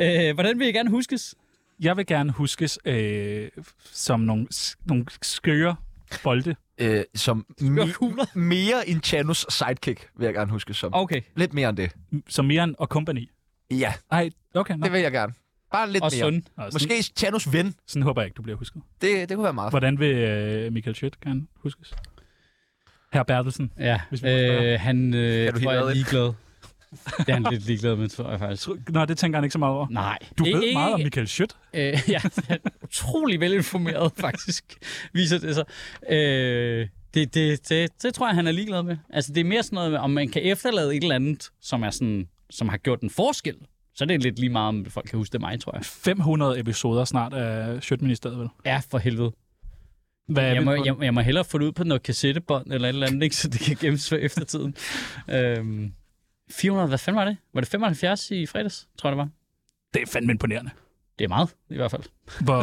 Øh, hvordan vil I gerne huskes?
Jeg vil gerne huskes øh, som nogle, nogle skøre bolde.
Øh, som
kugler.
me- mere end Chanos sidekick, vil jeg gerne huske som.
Okay.
Lidt mere end det.
Som Miran og Company.
Ja,
Ej, okay. Nå.
det vil jeg gerne. Bare lidt
Og
mere.
sunde.
Nå, sådan, Måske...
Måske Chanos ven.
sådan håber jeg ikke, du bliver husket.
Det, det kunne være meget.
Hvordan vil øh, Michael Schødt gerne huskes? Herr Bertelsen.
Ja.
Hvis vi må spørge.
Øh, han øh,
Kan du hive
tror, jeg er
noget ind?
ligeglad. Det er han lidt ligeglad med, tror jeg faktisk.
Nå, det tænker han ikke så meget over.
Nej.
Du ved
Ikke-
meget om Michael Schødt.
Øh, ja, han er utrolig velinformeret, faktisk, viser det sig. Øh, det, det, det, det tror jeg, han er ligeglad med. Altså, det er mere sådan noget med, om man kan efterlade et eller andet, som, er sådan, som har gjort en forskel. Så det er lidt lige meget, om folk kan huske det er mig, tror jeg.
500 episoder snart af Schødt-ministeriet, vel?
Ja, for helvede.
Hvad er
Jeg
vi
må,
på?
jeg, jeg må hellere få det ud på noget kassettebånd eller et eller andet, ikke? så det kan gemmes for eftertiden. Øhm, 400, hvad fanden var det? Var det 75 i fredags, tror jeg det var?
Det er fandme imponerende.
Det er meget, i hvert fald.
Hvor,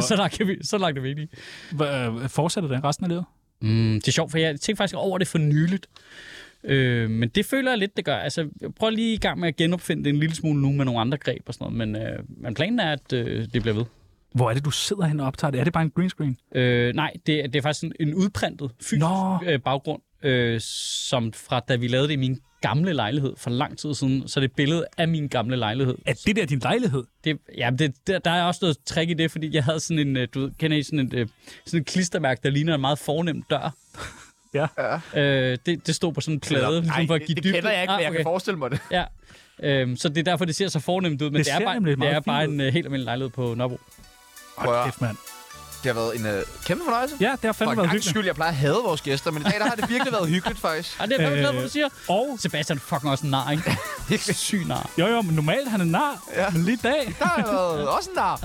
Så langt, kan vi, så langt er vi ikke i.
hvor, øh, fortsætter det resten af livet?
Mm, det er sjovt, for jeg tænkte faktisk over det for nyligt. Øh, men det føler jeg lidt, det gør. Altså, jeg prøver lige i gang med at genopfinde det en lille smule nu med nogle andre greb og sådan noget. Men, øh, men planen er, at øh, det bliver ved.
Hvor er det, du sidder hen og optager det? Er det bare en green screen?
Øh, nej, det, er- det er faktisk en, en udprintet fysisk
Nå.
øh, baggrund, øh, som fra da vi lavede det i min gamle lejlighed for lang tid siden. Så det er et billede af min gamle lejlighed.
Er det der din lejlighed?
Det, ja, det, der, der er også noget trick i det, fordi jeg havde sådan en, øh, du ved, kender I sådan et, øh, sådan et klistermærke, der ligner en meget fornem dør.
Ja.
Øh, det, det stod på sådan en plade,
Eller-
ligesom for at
det-
give
det
dybde.
kender jeg ikke,
Ah,
men jeg kan
okay.
forestille mig det.
Ja. Øhm, så det er derfor, det ser så fornemt ud, men det,
Det
det er
ser
bare,
nemlig
det
meget
er bare
fint
en uh, helt almindelig lejlighed på Nørrebro.
Prøv at-
Kæft, mand.
Det har været en øh, kæmpe fornøjelse.
Ja, det har
For
fandme
en
været
gang
hyggeligt.
skyld, jeg plejer at hade vores gæster, men i dag der har det virkelig været hyggeligt, faktisk.
Ej, det er jeg fandme glad for,
Øh.
du siger.
Og,
Sebastian er fucking også en nar, ikke? Syg nar.
jo jo, men normalt han er nar, ja. men lige i dag.
Der har været også en nar.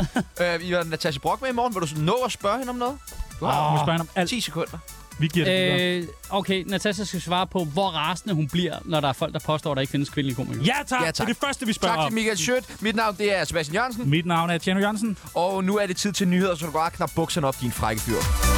Øh, I har Natasha Brock med i morgen. Vil du nå at spørge hende om noget? Du
Oh.
har
Må spørge ham om alt.
10 sekunder.
Vi giver det videre.
Øh, okay, Natasha skal svare på, hvor rasende hun bliver, når der er folk, der påstår, at der ikke findes kvindelige komikere.
Ja tak.
ja,
det er
tak.
det første, vi spørger
Tak til
om.
Michael Schødt. Mit navn det er Sebastian Jørgensen.
Mit navn er Tjerno Jørgensen.
Og nu er det tid til nyheder, så du bare knap bukserne op, din frække fyr.